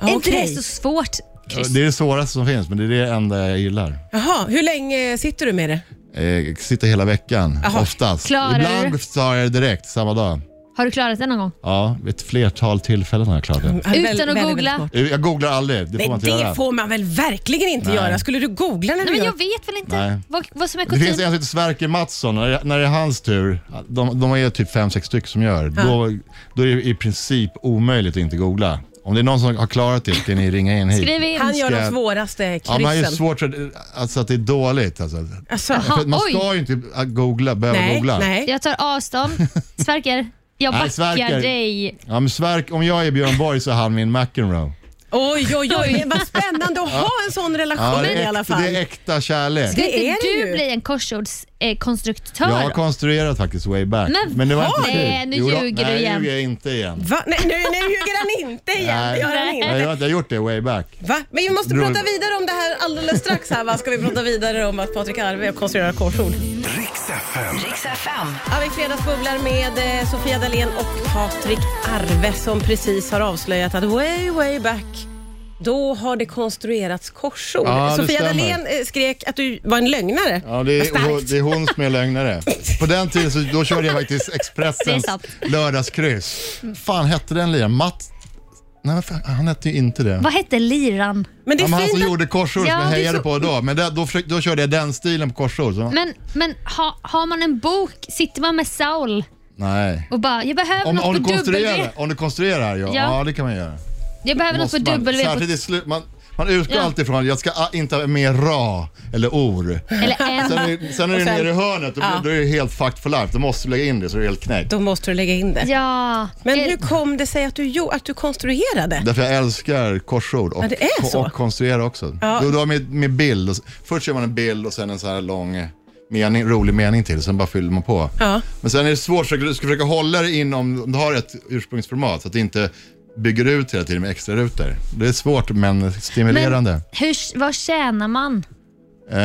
[SPEAKER 3] Är inte det
[SPEAKER 2] Okej.
[SPEAKER 3] så svårt? Chris?
[SPEAKER 4] Det är det svåraste som finns, men det är det enda jag gillar.
[SPEAKER 2] Jaha, hur länge sitter du med det?
[SPEAKER 4] Eh, sitter hela veckan,
[SPEAKER 2] Jaha.
[SPEAKER 4] oftast.
[SPEAKER 3] Klarar
[SPEAKER 4] Ibland
[SPEAKER 3] du?
[SPEAKER 4] tar jag det direkt, samma dag.
[SPEAKER 3] Har du klarat det någon gång?
[SPEAKER 4] Ja, vid ett flertal tillfällen har jag klarat det.
[SPEAKER 2] Ja,
[SPEAKER 3] Utan
[SPEAKER 2] väl-
[SPEAKER 3] att
[SPEAKER 2] väldigt,
[SPEAKER 3] googla.
[SPEAKER 2] väldigt smart.
[SPEAKER 4] Eh, Jag googlar aldrig, det får man
[SPEAKER 2] Nej,
[SPEAKER 4] inte
[SPEAKER 2] det
[SPEAKER 4] göra.
[SPEAKER 2] får man väl verkligen inte
[SPEAKER 4] Nej.
[SPEAKER 2] göra. Skulle du googla när du
[SPEAKER 3] Nej, men
[SPEAKER 2] gör
[SPEAKER 3] jag vet väl inte
[SPEAKER 4] Nej.
[SPEAKER 3] vad, vad som är
[SPEAKER 4] Det finns en
[SPEAKER 3] kutym.
[SPEAKER 4] som heter Sverker Mattsson, när det, när det är hans tur, de, de är typ fem sex stycken som gör, då, då är det i princip omöjligt att inte googla. Om det är någon som har klarat det ska ni ringa in hit.
[SPEAKER 3] Skriv in.
[SPEAKER 2] Han gör
[SPEAKER 4] Ska
[SPEAKER 2] de
[SPEAKER 4] jag-
[SPEAKER 2] svåraste
[SPEAKER 4] Ja, man har ju
[SPEAKER 2] kryssen.
[SPEAKER 4] svårt för, alltså, att det är dåligt. Alltså.
[SPEAKER 2] Alltså,
[SPEAKER 3] Jaha.
[SPEAKER 4] För att man
[SPEAKER 3] oj.
[SPEAKER 4] ska ju inte googla, behöva
[SPEAKER 2] nej,
[SPEAKER 4] googla.
[SPEAKER 2] nej.
[SPEAKER 3] Jag tar avstånd. Sverker, jag
[SPEAKER 4] Nej,
[SPEAKER 3] backar
[SPEAKER 4] Sverker.
[SPEAKER 3] dig.
[SPEAKER 4] Ja, men Sverk, om jag är Björn Borg så är han min McEnroe.
[SPEAKER 2] Oj, oj, oj. Vad spännande att ha en sån relation
[SPEAKER 4] Ja, det,
[SPEAKER 2] i
[SPEAKER 4] är
[SPEAKER 2] alla
[SPEAKER 4] äkta,
[SPEAKER 2] fall.
[SPEAKER 4] det är äkta kärlek.
[SPEAKER 2] Det
[SPEAKER 3] Kan inte
[SPEAKER 2] är det
[SPEAKER 3] du
[SPEAKER 2] ju.
[SPEAKER 3] bli en korsordskonstruktör?
[SPEAKER 4] Jag har konstruerat faktiskt way back.
[SPEAKER 3] Men
[SPEAKER 4] det var inte
[SPEAKER 3] vad?
[SPEAKER 4] kul.
[SPEAKER 3] Nej, nu
[SPEAKER 4] Jo då,
[SPEAKER 3] ljuger du
[SPEAKER 4] nej,
[SPEAKER 3] igen.
[SPEAKER 4] Nej, ljuger jag inte igen.
[SPEAKER 2] Va? Nej, nu, nu ljuger han inte igen. Det
[SPEAKER 4] Nej.
[SPEAKER 2] gör han inte.
[SPEAKER 4] Nej, jag har inte gjort det way back.
[SPEAKER 2] Va? Men vi måste
[SPEAKER 4] Bra.
[SPEAKER 2] prata vidare om det här alldeles strax. Här, va? Ska vi prata vidare om att Patrik Arve konstruerar korsord?
[SPEAKER 1] Riks FM.
[SPEAKER 5] Riks FM.
[SPEAKER 2] Ja, vi fredagsbubblar med eh, Sofia Dalén och Patrik Arve som precis har avslöjat att way, way back då har det konstruerats korsord.
[SPEAKER 4] Ja, det
[SPEAKER 2] Sofia
[SPEAKER 4] stämmer.
[SPEAKER 2] Dalén eh, skrek att du var en lögnare.
[SPEAKER 4] Ja, det,
[SPEAKER 2] Vad
[SPEAKER 4] är,
[SPEAKER 2] starkt.
[SPEAKER 4] hon, det är hon som är lögnare. På den tiden så, då körde jag faktiskt Expressens
[SPEAKER 3] Det är sant.
[SPEAKER 4] lördagskryss. fan hette den liran? Matt... Nej, vad fan, han hette ju inte det.
[SPEAKER 3] Vad hette liran?
[SPEAKER 2] Men det
[SPEAKER 4] Ja,
[SPEAKER 2] är
[SPEAKER 4] men han som
[SPEAKER 2] fint att...
[SPEAKER 4] gjorde korsord
[SPEAKER 3] Ja,
[SPEAKER 4] som jag
[SPEAKER 3] det är
[SPEAKER 4] hejade
[SPEAKER 3] så-
[SPEAKER 4] på då. Men det, då, försökte, då körde jag den stilen på korsord. Så,
[SPEAKER 3] Men, men ha, har man en bok, sitter man med Saul
[SPEAKER 4] nej.
[SPEAKER 3] och bara “jag behöver
[SPEAKER 4] Om,
[SPEAKER 3] något
[SPEAKER 4] om, du
[SPEAKER 3] på W”.
[SPEAKER 4] konstruerar, om du konstruerar, ja.
[SPEAKER 3] Ja.
[SPEAKER 4] ja. det kan man göra.
[SPEAKER 3] Jag behöver något på
[SPEAKER 4] Måste man,
[SPEAKER 3] W. på-
[SPEAKER 4] särskilt i slut, man, man utgår
[SPEAKER 3] Ja.
[SPEAKER 4] alltid från att jag ska ah, inte ha med ra eller or.
[SPEAKER 3] Eller en.
[SPEAKER 4] Sen är, sen är det
[SPEAKER 2] Och sen-
[SPEAKER 4] nere i hörnet, då,
[SPEAKER 2] Ja.
[SPEAKER 4] då är det helt fucked for life. Då måste du lägga in det så är det helt knäckt.
[SPEAKER 2] Då måste du lägga in det.
[SPEAKER 3] Ja.
[SPEAKER 2] Men
[SPEAKER 3] Eh,
[SPEAKER 2] hur kom det sig att du, jo, att du konstruerade?
[SPEAKER 4] Därför jag älskar korsord och,
[SPEAKER 2] Ja, det är så.
[SPEAKER 4] och konstruera också.
[SPEAKER 2] Ja.
[SPEAKER 4] Då, då med, med bild. Och, s- först gör man en bild och sen en så här lång eh, mening, rolig mening till, sen bara fyller man på.
[SPEAKER 2] Ja.
[SPEAKER 4] Men sen är det svårt, så du ska försöka hålla det inom, om du har ett ursprungsformat så att det inte bygger ut hela tiden med extra rutor. Det är svårt men stimulerande.
[SPEAKER 3] men hur, vad tjänar man?
[SPEAKER 4] Eh,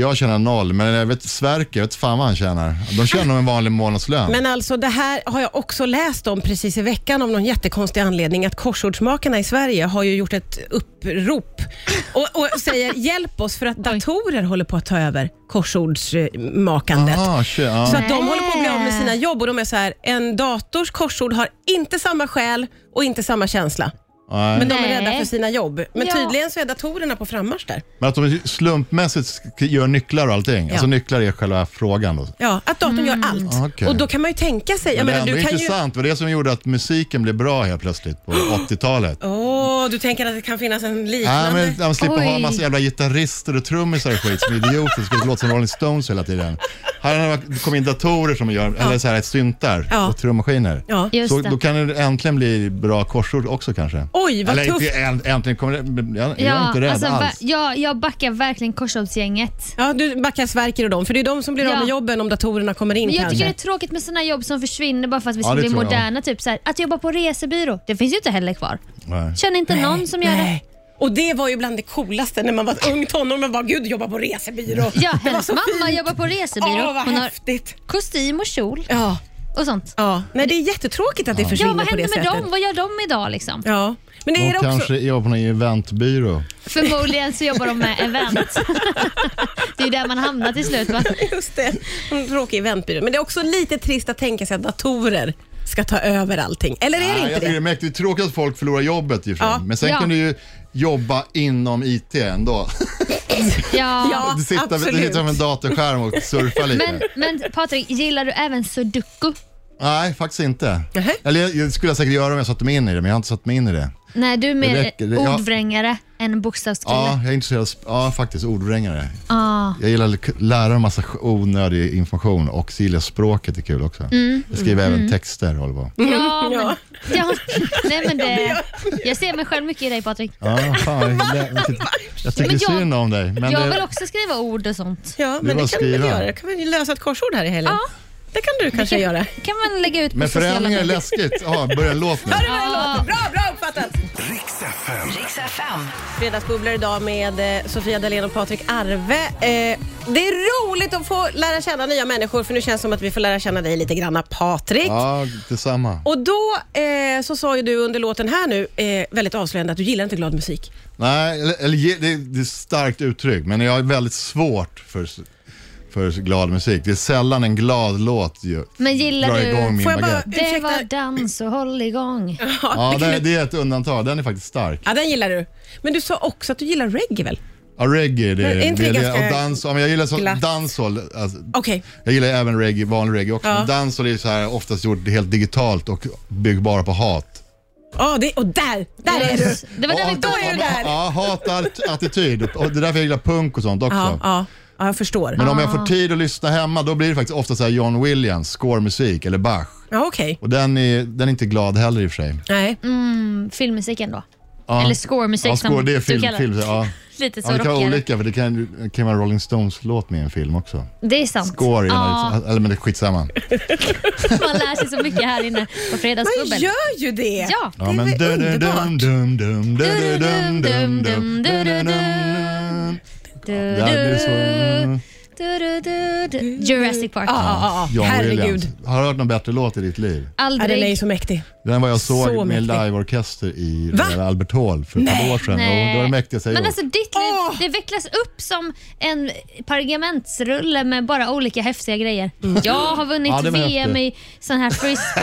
[SPEAKER 4] jag tjänar noll, men jag vet Sverker, jag vet fan vad han tjänar. De tjänar nog en vanlig månadslön.
[SPEAKER 2] Men alltså det här har jag också läst om precis i veckan om någon jättekonstig anledning att korsordsmakarna i Sverige har ju gjort ett upprop och, och säger hjälp oss för att datorer håller på att ta över korsordsmakandet.
[SPEAKER 4] Aha, tjö,
[SPEAKER 2] Så
[SPEAKER 4] Ah, ja.
[SPEAKER 2] att de håller på att bli av med sina jobb och de är så här, en dators korsord har inte samma själ och inte samma känsla.
[SPEAKER 4] Nej.
[SPEAKER 2] Men de är
[SPEAKER 3] Nej.
[SPEAKER 2] rädda för sina jobb. Men
[SPEAKER 3] Ja.
[SPEAKER 2] tydligen så är datorerna på frammarsch där.
[SPEAKER 4] Men att de slumpmässigt sk- gör nycklar och allting. Alltså nycklar är själva frågan då.
[SPEAKER 2] Ja, att datorn gör
[SPEAKER 3] Mm.
[SPEAKER 2] allt.
[SPEAKER 4] Ah, Okej.
[SPEAKER 2] Och då kan man ju tänka sig, jag
[SPEAKER 4] Men det är
[SPEAKER 2] menar,
[SPEAKER 4] ändå
[SPEAKER 2] du kan ju...
[SPEAKER 4] intressant, det var det som gjorde att musiken blev bra helt plötsligt på 80-talet.
[SPEAKER 2] Åh, du tänker att det kan finnas en
[SPEAKER 4] Ja,
[SPEAKER 2] liknande...
[SPEAKER 4] men man slipper ha
[SPEAKER 3] Oj.
[SPEAKER 4] en massa jävla gitarrister och trummisar och skit som är idioter som skulle låta som Rolling Stones hela tiden. Här har det kommit in datorer som gör, eller så här syntar
[SPEAKER 2] Ja.
[SPEAKER 4] och trummaskiner.
[SPEAKER 2] Ja.
[SPEAKER 3] Just
[SPEAKER 4] Så
[SPEAKER 3] det.
[SPEAKER 4] då kan det äntligen bli bra korsord också kanske.
[SPEAKER 2] Oj, vad
[SPEAKER 4] eller
[SPEAKER 2] tufft.
[SPEAKER 4] inte änt- äntligen, kommer det, men jag, jag är
[SPEAKER 3] Ja,
[SPEAKER 4] inte rädd
[SPEAKER 3] alltså, va-
[SPEAKER 4] alls.
[SPEAKER 3] ja, jag backar verkligen korsordsgänget.
[SPEAKER 2] Ja, du backar Sverker och dem, för det är de som blir
[SPEAKER 3] Ja.
[SPEAKER 2] av med jobben om datorerna kommer in
[SPEAKER 3] Men jag
[SPEAKER 2] kanske.
[SPEAKER 3] tycker det är tråkigt med såna jobb som försvinner bara för att vi ska
[SPEAKER 4] det
[SPEAKER 3] bli
[SPEAKER 4] tror jag.
[SPEAKER 3] moderna. Typ så här, att jobba på resebyrå, det finns ju inte heller kvar.
[SPEAKER 4] Nej.
[SPEAKER 3] Känner inte någon som gör det.
[SPEAKER 2] Nej. Och det var ju bland det coolaste när man var ung tonåring. Man bara, gud jobba på resebyrå.
[SPEAKER 3] Ja,
[SPEAKER 2] det var
[SPEAKER 3] hennes
[SPEAKER 2] så
[SPEAKER 3] mamma
[SPEAKER 2] fint.
[SPEAKER 3] jobbar på resebyrå.
[SPEAKER 2] Åh, vad
[SPEAKER 3] Hon har
[SPEAKER 2] häftigt.
[SPEAKER 3] kostym och kjol
[SPEAKER 2] Ja.
[SPEAKER 3] och sånt.
[SPEAKER 2] ja. Nej, det är jättetråkigt att det försvinner
[SPEAKER 3] Ja, vad
[SPEAKER 2] på det
[SPEAKER 3] händer med
[SPEAKER 2] sättet.
[SPEAKER 3] dem? Vad gör de idag liksom?
[SPEAKER 2] Ja. Men är
[SPEAKER 4] De
[SPEAKER 2] det också...
[SPEAKER 4] kanske jobbar på någon eventbyrå.
[SPEAKER 3] Förmodligen så jobbar de med event. det är ju där man hamnar till slut. Va?
[SPEAKER 2] Just det, en tråkig eventbyrå. Men det är också lite trist att tänka sig att datorer ska ta över allting. Eller är det
[SPEAKER 4] Nej, jag
[SPEAKER 2] inte
[SPEAKER 4] tycker det är
[SPEAKER 2] det?
[SPEAKER 4] mäktigt. Det är tråkigt att folk förlorar jobbet i och för sig.
[SPEAKER 2] Ja.
[SPEAKER 4] Men sen
[SPEAKER 3] Ja.
[SPEAKER 4] kan du ju jobba inom IT ändå.
[SPEAKER 3] Ja.
[SPEAKER 2] Ja,
[SPEAKER 4] du sitter, du
[SPEAKER 2] absolut.
[SPEAKER 4] sitter som en datorskärm och surfar lite.
[SPEAKER 3] Men, men Patrik, gillar du även sudoku?
[SPEAKER 4] Nej, faktiskt inte.
[SPEAKER 2] Nähä.
[SPEAKER 4] Eller jag, jag skulle jag säkert göra om jag satte mig in i det, men jag har inte satt mig in i det.
[SPEAKER 3] Nej, du är mer
[SPEAKER 4] Det räcker, det- ja.
[SPEAKER 3] ordvrängare än bokstavsskrivare.
[SPEAKER 4] Ja, jag är intresserad av, sp- ja faktiskt, ordvrängare.
[SPEAKER 3] Ah.
[SPEAKER 4] Jag gillar att k- lära en massa sj- onödig information och så gillar jag språket, det är kul också.
[SPEAKER 3] Mm.
[SPEAKER 4] jag skriver även texter och håller på.
[SPEAKER 3] Ja, men,
[SPEAKER 2] ja.
[SPEAKER 3] ja. Nej, men det, jag ser mig själv mycket i dig Patrik.
[SPEAKER 4] Ja, fan, jag, jag, jag tycker
[SPEAKER 3] Men jag-
[SPEAKER 4] synd om dig. Men
[SPEAKER 3] Jag
[SPEAKER 4] det,
[SPEAKER 3] vill också skriva ord och sånt.
[SPEAKER 2] Ja,
[SPEAKER 4] är
[SPEAKER 2] men
[SPEAKER 4] bara
[SPEAKER 2] det
[SPEAKER 4] att
[SPEAKER 2] kan du väl
[SPEAKER 4] skriva.
[SPEAKER 2] göra? kan vi lösa ett korsord här i helgen?
[SPEAKER 3] Ja.
[SPEAKER 2] Det kan du kanske göra.
[SPEAKER 3] kan man lägga ut på
[SPEAKER 4] men
[SPEAKER 3] sociala
[SPEAKER 4] förändringar är
[SPEAKER 3] medier.
[SPEAKER 4] läskigt. Ja, börja en låt nu.
[SPEAKER 2] Hör du vad det
[SPEAKER 3] Ja.
[SPEAKER 2] låter? Bra, bra uppfattat!
[SPEAKER 1] Riks FM.
[SPEAKER 5] Riks FM.
[SPEAKER 2] Fredagsbubblor idag med eh, Sofia Dalén och Patrik Arve. Eh, Det är roligt att få lära känna nya människor för nu känns det som att vi får lära känna dig lite granna Patrik.
[SPEAKER 4] Ja, detsamma.
[SPEAKER 2] Och då eh, så sa ju du under låten här nu, eh, väldigt avslöjande, att du gillar inte glad musik.
[SPEAKER 4] Nej, eller, eller ge- det, det är ett starkt uttryck, men jag är väldigt svårt för, s- för glad musik. Det är sällan en glad låt ju,
[SPEAKER 3] Men gillar
[SPEAKER 4] drar
[SPEAKER 3] du-
[SPEAKER 4] igång min
[SPEAKER 2] Får jag bara-
[SPEAKER 4] baguette.
[SPEAKER 3] Det
[SPEAKER 2] Ursäkta.
[SPEAKER 3] var dans och håll igång.
[SPEAKER 4] Ja, det, det är ett undantag. Den är faktiskt stark.
[SPEAKER 2] Ja, den gillar du. Men du sa också att du gillar reggae väl?
[SPEAKER 4] Ja, reggae det,
[SPEAKER 2] Men är
[SPEAKER 4] är
[SPEAKER 2] inte det
[SPEAKER 4] det, det
[SPEAKER 2] ganska
[SPEAKER 4] och dans. Ja, men jag gillar så,
[SPEAKER 2] glatt?
[SPEAKER 4] dancehall. Alltså,
[SPEAKER 2] Okej.
[SPEAKER 4] jag gillar även reggae, vanlig reggae också.
[SPEAKER 2] Ja.
[SPEAKER 4] Men dancehall är ju så här oftast gjort helt digitalt och bygger bara på hat.
[SPEAKER 2] Ja, det- och där! Där är du!
[SPEAKER 3] Det var där
[SPEAKER 4] Ja,
[SPEAKER 3] vi
[SPEAKER 2] är
[SPEAKER 3] började.
[SPEAKER 2] du där.
[SPEAKER 4] Ja, hat att- attityd. Och det är därför jag gillar punk och sånt också.
[SPEAKER 2] Ja, ja, ja jag förstår.
[SPEAKER 4] Men om jag får tid att lyssna hemma, då blir det faktiskt ofta så här John Williams, scoremusik eller Bach.
[SPEAKER 2] Ja, okej.
[SPEAKER 4] Och den är, den är inte glad heller i och för sig.
[SPEAKER 2] Nej.
[SPEAKER 3] Mm, Filmmusiken då.
[SPEAKER 4] Ja.
[SPEAKER 3] Eller scoremusik
[SPEAKER 4] ja, score,
[SPEAKER 3] som
[SPEAKER 4] det är
[SPEAKER 3] du
[SPEAKER 4] film,
[SPEAKER 3] kallar
[SPEAKER 4] film, så- ja.
[SPEAKER 3] Lite
[SPEAKER 4] ja,
[SPEAKER 3] så
[SPEAKER 4] det kan vara
[SPEAKER 3] rockigare.
[SPEAKER 4] olika, för det kan, det kan vara Rolling Stones-låt med i en film också.
[SPEAKER 3] Det är sant.
[SPEAKER 4] Score, är
[SPEAKER 3] ja,
[SPEAKER 4] en- eller men det är skitsamma.
[SPEAKER 3] man lär sig så mycket här inne på
[SPEAKER 2] Man
[SPEAKER 3] Fredagsklubben.
[SPEAKER 2] gör ju det!
[SPEAKER 3] Ja.
[SPEAKER 4] Ja,
[SPEAKER 2] är
[SPEAKER 4] men
[SPEAKER 2] väl underbart.
[SPEAKER 4] dum, dum, dum, dum, dum, dum, dum, dum, dum,
[SPEAKER 3] Du-du-du-dum.
[SPEAKER 4] dum. Det här blir så-
[SPEAKER 3] Du-du-du-du. Jurassic Park.
[SPEAKER 2] Ja, ja, ja.
[SPEAKER 4] John
[SPEAKER 2] Herregud.
[SPEAKER 4] Williams. Har du hört någon bättre låt i ditt liv?
[SPEAKER 2] Ja, den är ju
[SPEAKER 3] Aldrig.
[SPEAKER 2] så mäktig.
[SPEAKER 4] Den var jag såg
[SPEAKER 2] Så
[SPEAKER 4] med
[SPEAKER 2] mäktig.
[SPEAKER 4] liveorkester i
[SPEAKER 2] Va?
[SPEAKER 4] Royal Albert Hall för ett par år sedan.
[SPEAKER 3] Nej.
[SPEAKER 4] Och det var det mäktigaste jag
[SPEAKER 3] Men
[SPEAKER 4] gjort.
[SPEAKER 3] alltså ditt liv,
[SPEAKER 2] Åh!
[SPEAKER 3] det vecklas upp som en pergamentsrulle med bara olika häftiga grejer. Jag har vunnit
[SPEAKER 4] Ja, det var
[SPEAKER 3] VM
[SPEAKER 4] häftigt.
[SPEAKER 3] i sån här frisbee.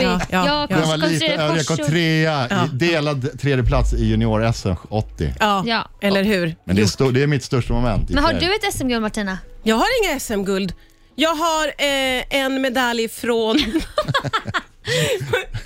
[SPEAKER 2] Ja, ja, ja.
[SPEAKER 3] jag
[SPEAKER 4] Den var
[SPEAKER 3] har
[SPEAKER 4] liten,
[SPEAKER 3] konstruerat
[SPEAKER 4] jag kom
[SPEAKER 3] korsord.
[SPEAKER 4] trea, i- delad tredje plats i junior-SM 80.
[SPEAKER 2] Ja,
[SPEAKER 3] Ja.
[SPEAKER 2] eller hur?
[SPEAKER 4] Men det är, stor, det är mitt största moment. i
[SPEAKER 3] Men har
[SPEAKER 4] sig.
[SPEAKER 3] du ett SM-guld Martina?
[SPEAKER 2] Jag har inga SM-guld. Jag har eh, en medalj från...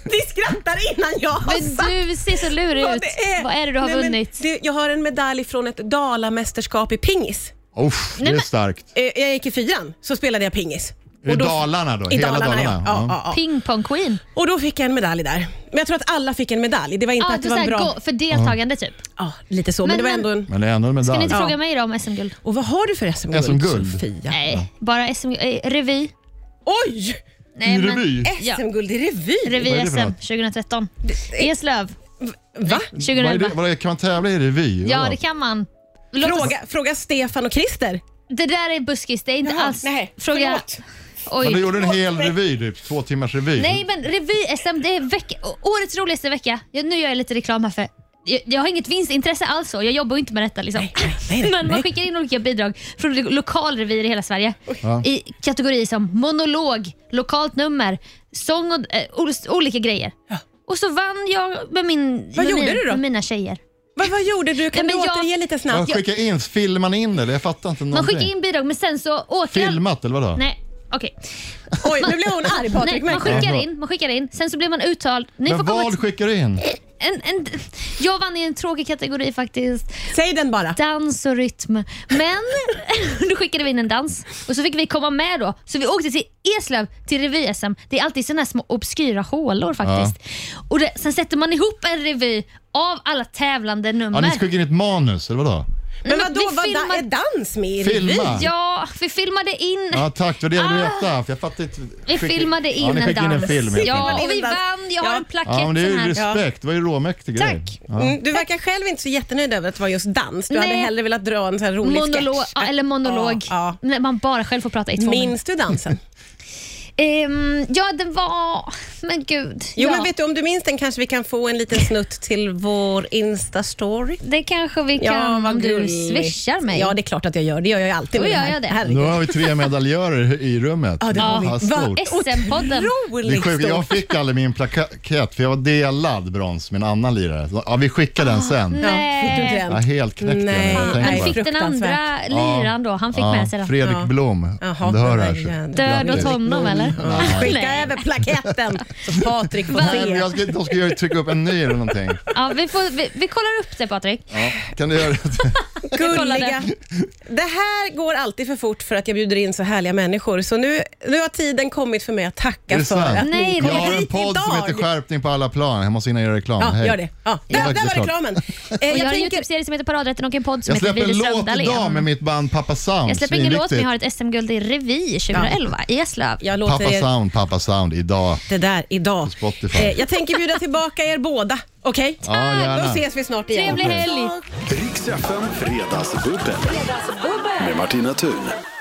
[SPEAKER 2] Ni skrattar innan jag har
[SPEAKER 3] Men
[SPEAKER 2] sagt
[SPEAKER 3] du ser så lurig
[SPEAKER 2] vad
[SPEAKER 3] ut.
[SPEAKER 2] det är.
[SPEAKER 3] Vad är det du har
[SPEAKER 2] Nej, men
[SPEAKER 3] vunnit?
[SPEAKER 2] Det, jag har en medalj från ett Dalamästerskap i pingis.
[SPEAKER 4] Uff, det är starkt.
[SPEAKER 2] Eh, jag gick i fyran, så spelade jag pingis.
[SPEAKER 4] I
[SPEAKER 2] Och då-
[SPEAKER 4] Dalarna då?
[SPEAKER 2] I
[SPEAKER 4] Hela
[SPEAKER 2] Dalarna,
[SPEAKER 4] Dalarna?
[SPEAKER 2] ja. Ja, ja, ja.
[SPEAKER 3] Pingpong queen.
[SPEAKER 2] Och då fick jag en medalj där. Men jag tror att alla fick en medalj. Det var inte
[SPEAKER 3] Ja,
[SPEAKER 2] att det
[SPEAKER 3] du
[SPEAKER 2] var en
[SPEAKER 3] säger
[SPEAKER 2] bra...
[SPEAKER 3] gå för deltagande typ.
[SPEAKER 2] Ja, lite så. Men,
[SPEAKER 3] Men-
[SPEAKER 2] det var
[SPEAKER 3] men-
[SPEAKER 2] ändå en...
[SPEAKER 4] Men det är ändå en
[SPEAKER 3] Kan ni
[SPEAKER 4] medalj.
[SPEAKER 3] inte
[SPEAKER 2] Ja.
[SPEAKER 3] fråga mig då om SM-guld?
[SPEAKER 2] Och vad har du för SM-guld,
[SPEAKER 4] SM-guld?
[SPEAKER 2] Sofia?
[SPEAKER 3] Nej, bara SM, eh, revy.
[SPEAKER 2] Oj!
[SPEAKER 3] Nej, men-
[SPEAKER 4] Revy?
[SPEAKER 3] Ja.
[SPEAKER 2] SM-guld i revy?
[SPEAKER 4] Vad är
[SPEAKER 3] Revy
[SPEAKER 4] det för
[SPEAKER 3] SM
[SPEAKER 4] något?
[SPEAKER 3] 2013. Eslöv
[SPEAKER 2] Va?
[SPEAKER 4] Vad är det,
[SPEAKER 3] 2011.
[SPEAKER 4] vad är det, kan man tävla i revy?
[SPEAKER 3] Ja, det kan man. Låt oss-
[SPEAKER 2] Fråga, fråga Stefan och Christer.
[SPEAKER 3] Det där är buskis, det är inte alls...
[SPEAKER 2] nej.
[SPEAKER 3] Fråga...
[SPEAKER 2] Förlåt.
[SPEAKER 4] Men du
[SPEAKER 3] Oj.
[SPEAKER 4] gjorde en hel revy, typ, två timmars revy.
[SPEAKER 3] Nej, men revy-SM, det är veck... å- årets roligaste vecka. Ja, nu gör jag lite reklam här för... Jag, jag har inget vinstintresse alls, så. jag jobbar ju inte med detta. Liksom.
[SPEAKER 2] nej, nej,
[SPEAKER 3] men man
[SPEAKER 2] nej.
[SPEAKER 3] skickar in olika bidrag från lo- lokalrevyer i hela Sverige
[SPEAKER 4] Ja.
[SPEAKER 3] i kategorier som monolog, lokalt nummer, sång och eh, ol- olika grejer. Och så vann jag med, min,
[SPEAKER 2] Vad
[SPEAKER 3] med,
[SPEAKER 2] gjorde
[SPEAKER 3] min,
[SPEAKER 2] du då?
[SPEAKER 3] med mina tjejer.
[SPEAKER 2] Vad, vad gjorde du? Kan
[SPEAKER 3] Nej, men
[SPEAKER 2] du
[SPEAKER 3] jag-
[SPEAKER 2] återge lite
[SPEAKER 4] Ja,
[SPEAKER 2] snabbt?
[SPEAKER 4] skicka in, filmar man in det? eller? Jag fattar inte
[SPEAKER 3] Man
[SPEAKER 4] någonting.
[SPEAKER 3] skickar in bidrag men sen så åker...
[SPEAKER 4] Filmat eller vadå?
[SPEAKER 3] Nej, okej.
[SPEAKER 2] Oj, nu blev hon arg Patrik.
[SPEAKER 3] Nej, man
[SPEAKER 2] märkte du?
[SPEAKER 3] skickar in, man skickar in, sen så blir man uttald. Ni får
[SPEAKER 4] Men
[SPEAKER 3] komma
[SPEAKER 4] vad
[SPEAKER 3] till-
[SPEAKER 4] skickar du in?
[SPEAKER 3] en, en, jag vann i en tråkig kategori faktiskt.
[SPEAKER 2] Säg den bara.
[SPEAKER 3] Dans och rytm. Men då skickade vi in en dans och så fick vi komma med då. Så vi åkte till Eslöv till revy-SM. Det är alltid sådana här små obskyra hålor faktiskt. Och det, sen sätter man ihop en revy av alla tävlande
[SPEAKER 4] Ja,
[SPEAKER 3] nummer.
[SPEAKER 4] ni skickar in ett manus, eller vadå?
[SPEAKER 2] Men
[SPEAKER 3] men
[SPEAKER 2] vadå,
[SPEAKER 3] vi
[SPEAKER 2] vad
[SPEAKER 3] filmar-
[SPEAKER 2] da, är dans med i
[SPEAKER 4] Filma.
[SPEAKER 2] revy?
[SPEAKER 3] Ja, vi filmade in
[SPEAKER 4] Ja, tack, det var det jag ville
[SPEAKER 3] Ah.
[SPEAKER 4] veta. För jag fattar inte.
[SPEAKER 3] Vi
[SPEAKER 4] Skicka-
[SPEAKER 3] filmade in
[SPEAKER 4] ja, ni
[SPEAKER 3] en
[SPEAKER 4] skickade
[SPEAKER 3] dans.
[SPEAKER 4] in en film. helt enkelt.
[SPEAKER 3] ja,
[SPEAKER 2] enkelt.
[SPEAKER 3] och vi vann. Jag
[SPEAKER 2] Ja.
[SPEAKER 3] har en plakett
[SPEAKER 4] ja men det är
[SPEAKER 3] sån
[SPEAKER 4] ju
[SPEAKER 3] här.
[SPEAKER 4] respekt. Det var ju råmäktig grej.
[SPEAKER 3] Tack.
[SPEAKER 4] Ja.
[SPEAKER 2] Mm, du verkar själv inte så jättenöjd över att det var just dans. Du
[SPEAKER 3] Nej.
[SPEAKER 2] hade hellre velat dra en sån här rolig
[SPEAKER 3] Monolog,
[SPEAKER 2] sketch.
[SPEAKER 3] ja, eller monolog.
[SPEAKER 2] Ja,
[SPEAKER 3] När man bara själv får prata i två
[SPEAKER 2] Minns du dansen?
[SPEAKER 3] Ehm, ja, den var... Men gud.
[SPEAKER 2] Jo,
[SPEAKER 3] ja.
[SPEAKER 2] men vet du, om du minns den kanske vi kan få en liten snutt till vår Insta-story.
[SPEAKER 3] Det kanske vi kan om du swishar mig.
[SPEAKER 2] Ja, det är klart att jag gör. Det gör jag ju alltid.
[SPEAKER 3] Då
[SPEAKER 2] med
[SPEAKER 3] gör
[SPEAKER 2] här.
[SPEAKER 3] jag det.
[SPEAKER 2] Herregud.
[SPEAKER 4] Nu har vi tre medaljörer i rummet.
[SPEAKER 2] Ja, det har vi.
[SPEAKER 4] Vad
[SPEAKER 2] Va-
[SPEAKER 4] stort.
[SPEAKER 3] SM-podden.
[SPEAKER 4] Det är
[SPEAKER 2] Otroligt
[SPEAKER 4] sjukt. Jag
[SPEAKER 2] stort.
[SPEAKER 4] fick aldrig min plakett för jag var delad brons med en annan lirare. Så, Ja, vi skickar den sen.
[SPEAKER 2] Ja, fick du inte
[SPEAKER 4] Ja,
[SPEAKER 2] den?
[SPEAKER 4] helt knäckt
[SPEAKER 2] Nej.
[SPEAKER 4] jag när jag
[SPEAKER 2] Nej,
[SPEAKER 3] Han
[SPEAKER 4] tänker på
[SPEAKER 3] fick
[SPEAKER 4] det.
[SPEAKER 3] den andra
[SPEAKER 2] Fruktansvärt.
[SPEAKER 3] liran då. Han fick
[SPEAKER 4] Ja,
[SPEAKER 3] med sig den.
[SPEAKER 4] Fredrik
[SPEAKER 2] Ja.
[SPEAKER 4] Blom,
[SPEAKER 2] Jaha,
[SPEAKER 4] om du hör
[SPEAKER 2] den
[SPEAKER 4] det
[SPEAKER 2] där
[SPEAKER 4] här. så-
[SPEAKER 2] jäveln.
[SPEAKER 3] Död åt
[SPEAKER 4] Grattis.
[SPEAKER 3] honom eller?
[SPEAKER 2] Skicka
[SPEAKER 3] Nej.
[SPEAKER 2] över plaketten så Patrik får
[SPEAKER 4] Nej, men
[SPEAKER 2] se.
[SPEAKER 4] jag ska, de ska ju trycka upp en ny eller någonting.
[SPEAKER 3] Ja, vi, får, vi, vi kollar upp det Patrik.
[SPEAKER 4] Ja, kan du göra det?
[SPEAKER 3] kolla
[SPEAKER 2] Gulliga.
[SPEAKER 3] det.
[SPEAKER 2] Det här går alltid för fort för att jag bjuder in så härliga människor. Så nu, nu har tiden kommit för mig att
[SPEAKER 4] Är
[SPEAKER 2] tacka
[SPEAKER 4] det
[SPEAKER 2] för
[SPEAKER 4] sant?
[SPEAKER 2] att
[SPEAKER 3] Nej,
[SPEAKER 2] ni
[SPEAKER 4] Jag
[SPEAKER 3] det är
[SPEAKER 2] kom
[SPEAKER 4] har en
[SPEAKER 2] hit
[SPEAKER 4] podd som
[SPEAKER 2] idag.
[SPEAKER 4] heter Skärpning på alla plan. Jag måste hinna göra reklam.
[SPEAKER 2] Ja,
[SPEAKER 4] Hej.
[SPEAKER 2] gör det. Ja.
[SPEAKER 4] Ja,
[SPEAKER 2] Där, där
[SPEAKER 4] det är
[SPEAKER 2] var
[SPEAKER 4] klart.
[SPEAKER 2] reklamen. Eh,
[SPEAKER 3] Och jag, har
[SPEAKER 2] jag
[SPEAKER 3] en
[SPEAKER 2] tänker,
[SPEAKER 3] Youtube-serie som heter Paradrätten och en podd som
[SPEAKER 4] Jag
[SPEAKER 3] heter
[SPEAKER 4] släpper en
[SPEAKER 3] Willy
[SPEAKER 4] låt idag med
[SPEAKER 3] Sömndalen.
[SPEAKER 4] mitt band Pappa Sound.
[SPEAKER 3] Jag släpper ingen låt men
[SPEAKER 4] Svinviktigt.
[SPEAKER 3] jag har ett SM-guld i revy 2011 i Eslöv.
[SPEAKER 2] jag
[SPEAKER 4] Pappa
[SPEAKER 2] låter er
[SPEAKER 4] Sound, Pappa Sound idag.
[SPEAKER 2] det där idag.
[SPEAKER 4] Spotify.
[SPEAKER 2] Eh, jag tänker bjuda tillbaka er båda. Okej?
[SPEAKER 4] Ja,
[SPEAKER 2] Då
[SPEAKER 4] gärna.
[SPEAKER 2] ses vi snart igen.
[SPEAKER 3] Trevlig helg!
[SPEAKER 1] Riks FM Fredagsbubbel. Med Martina Thun.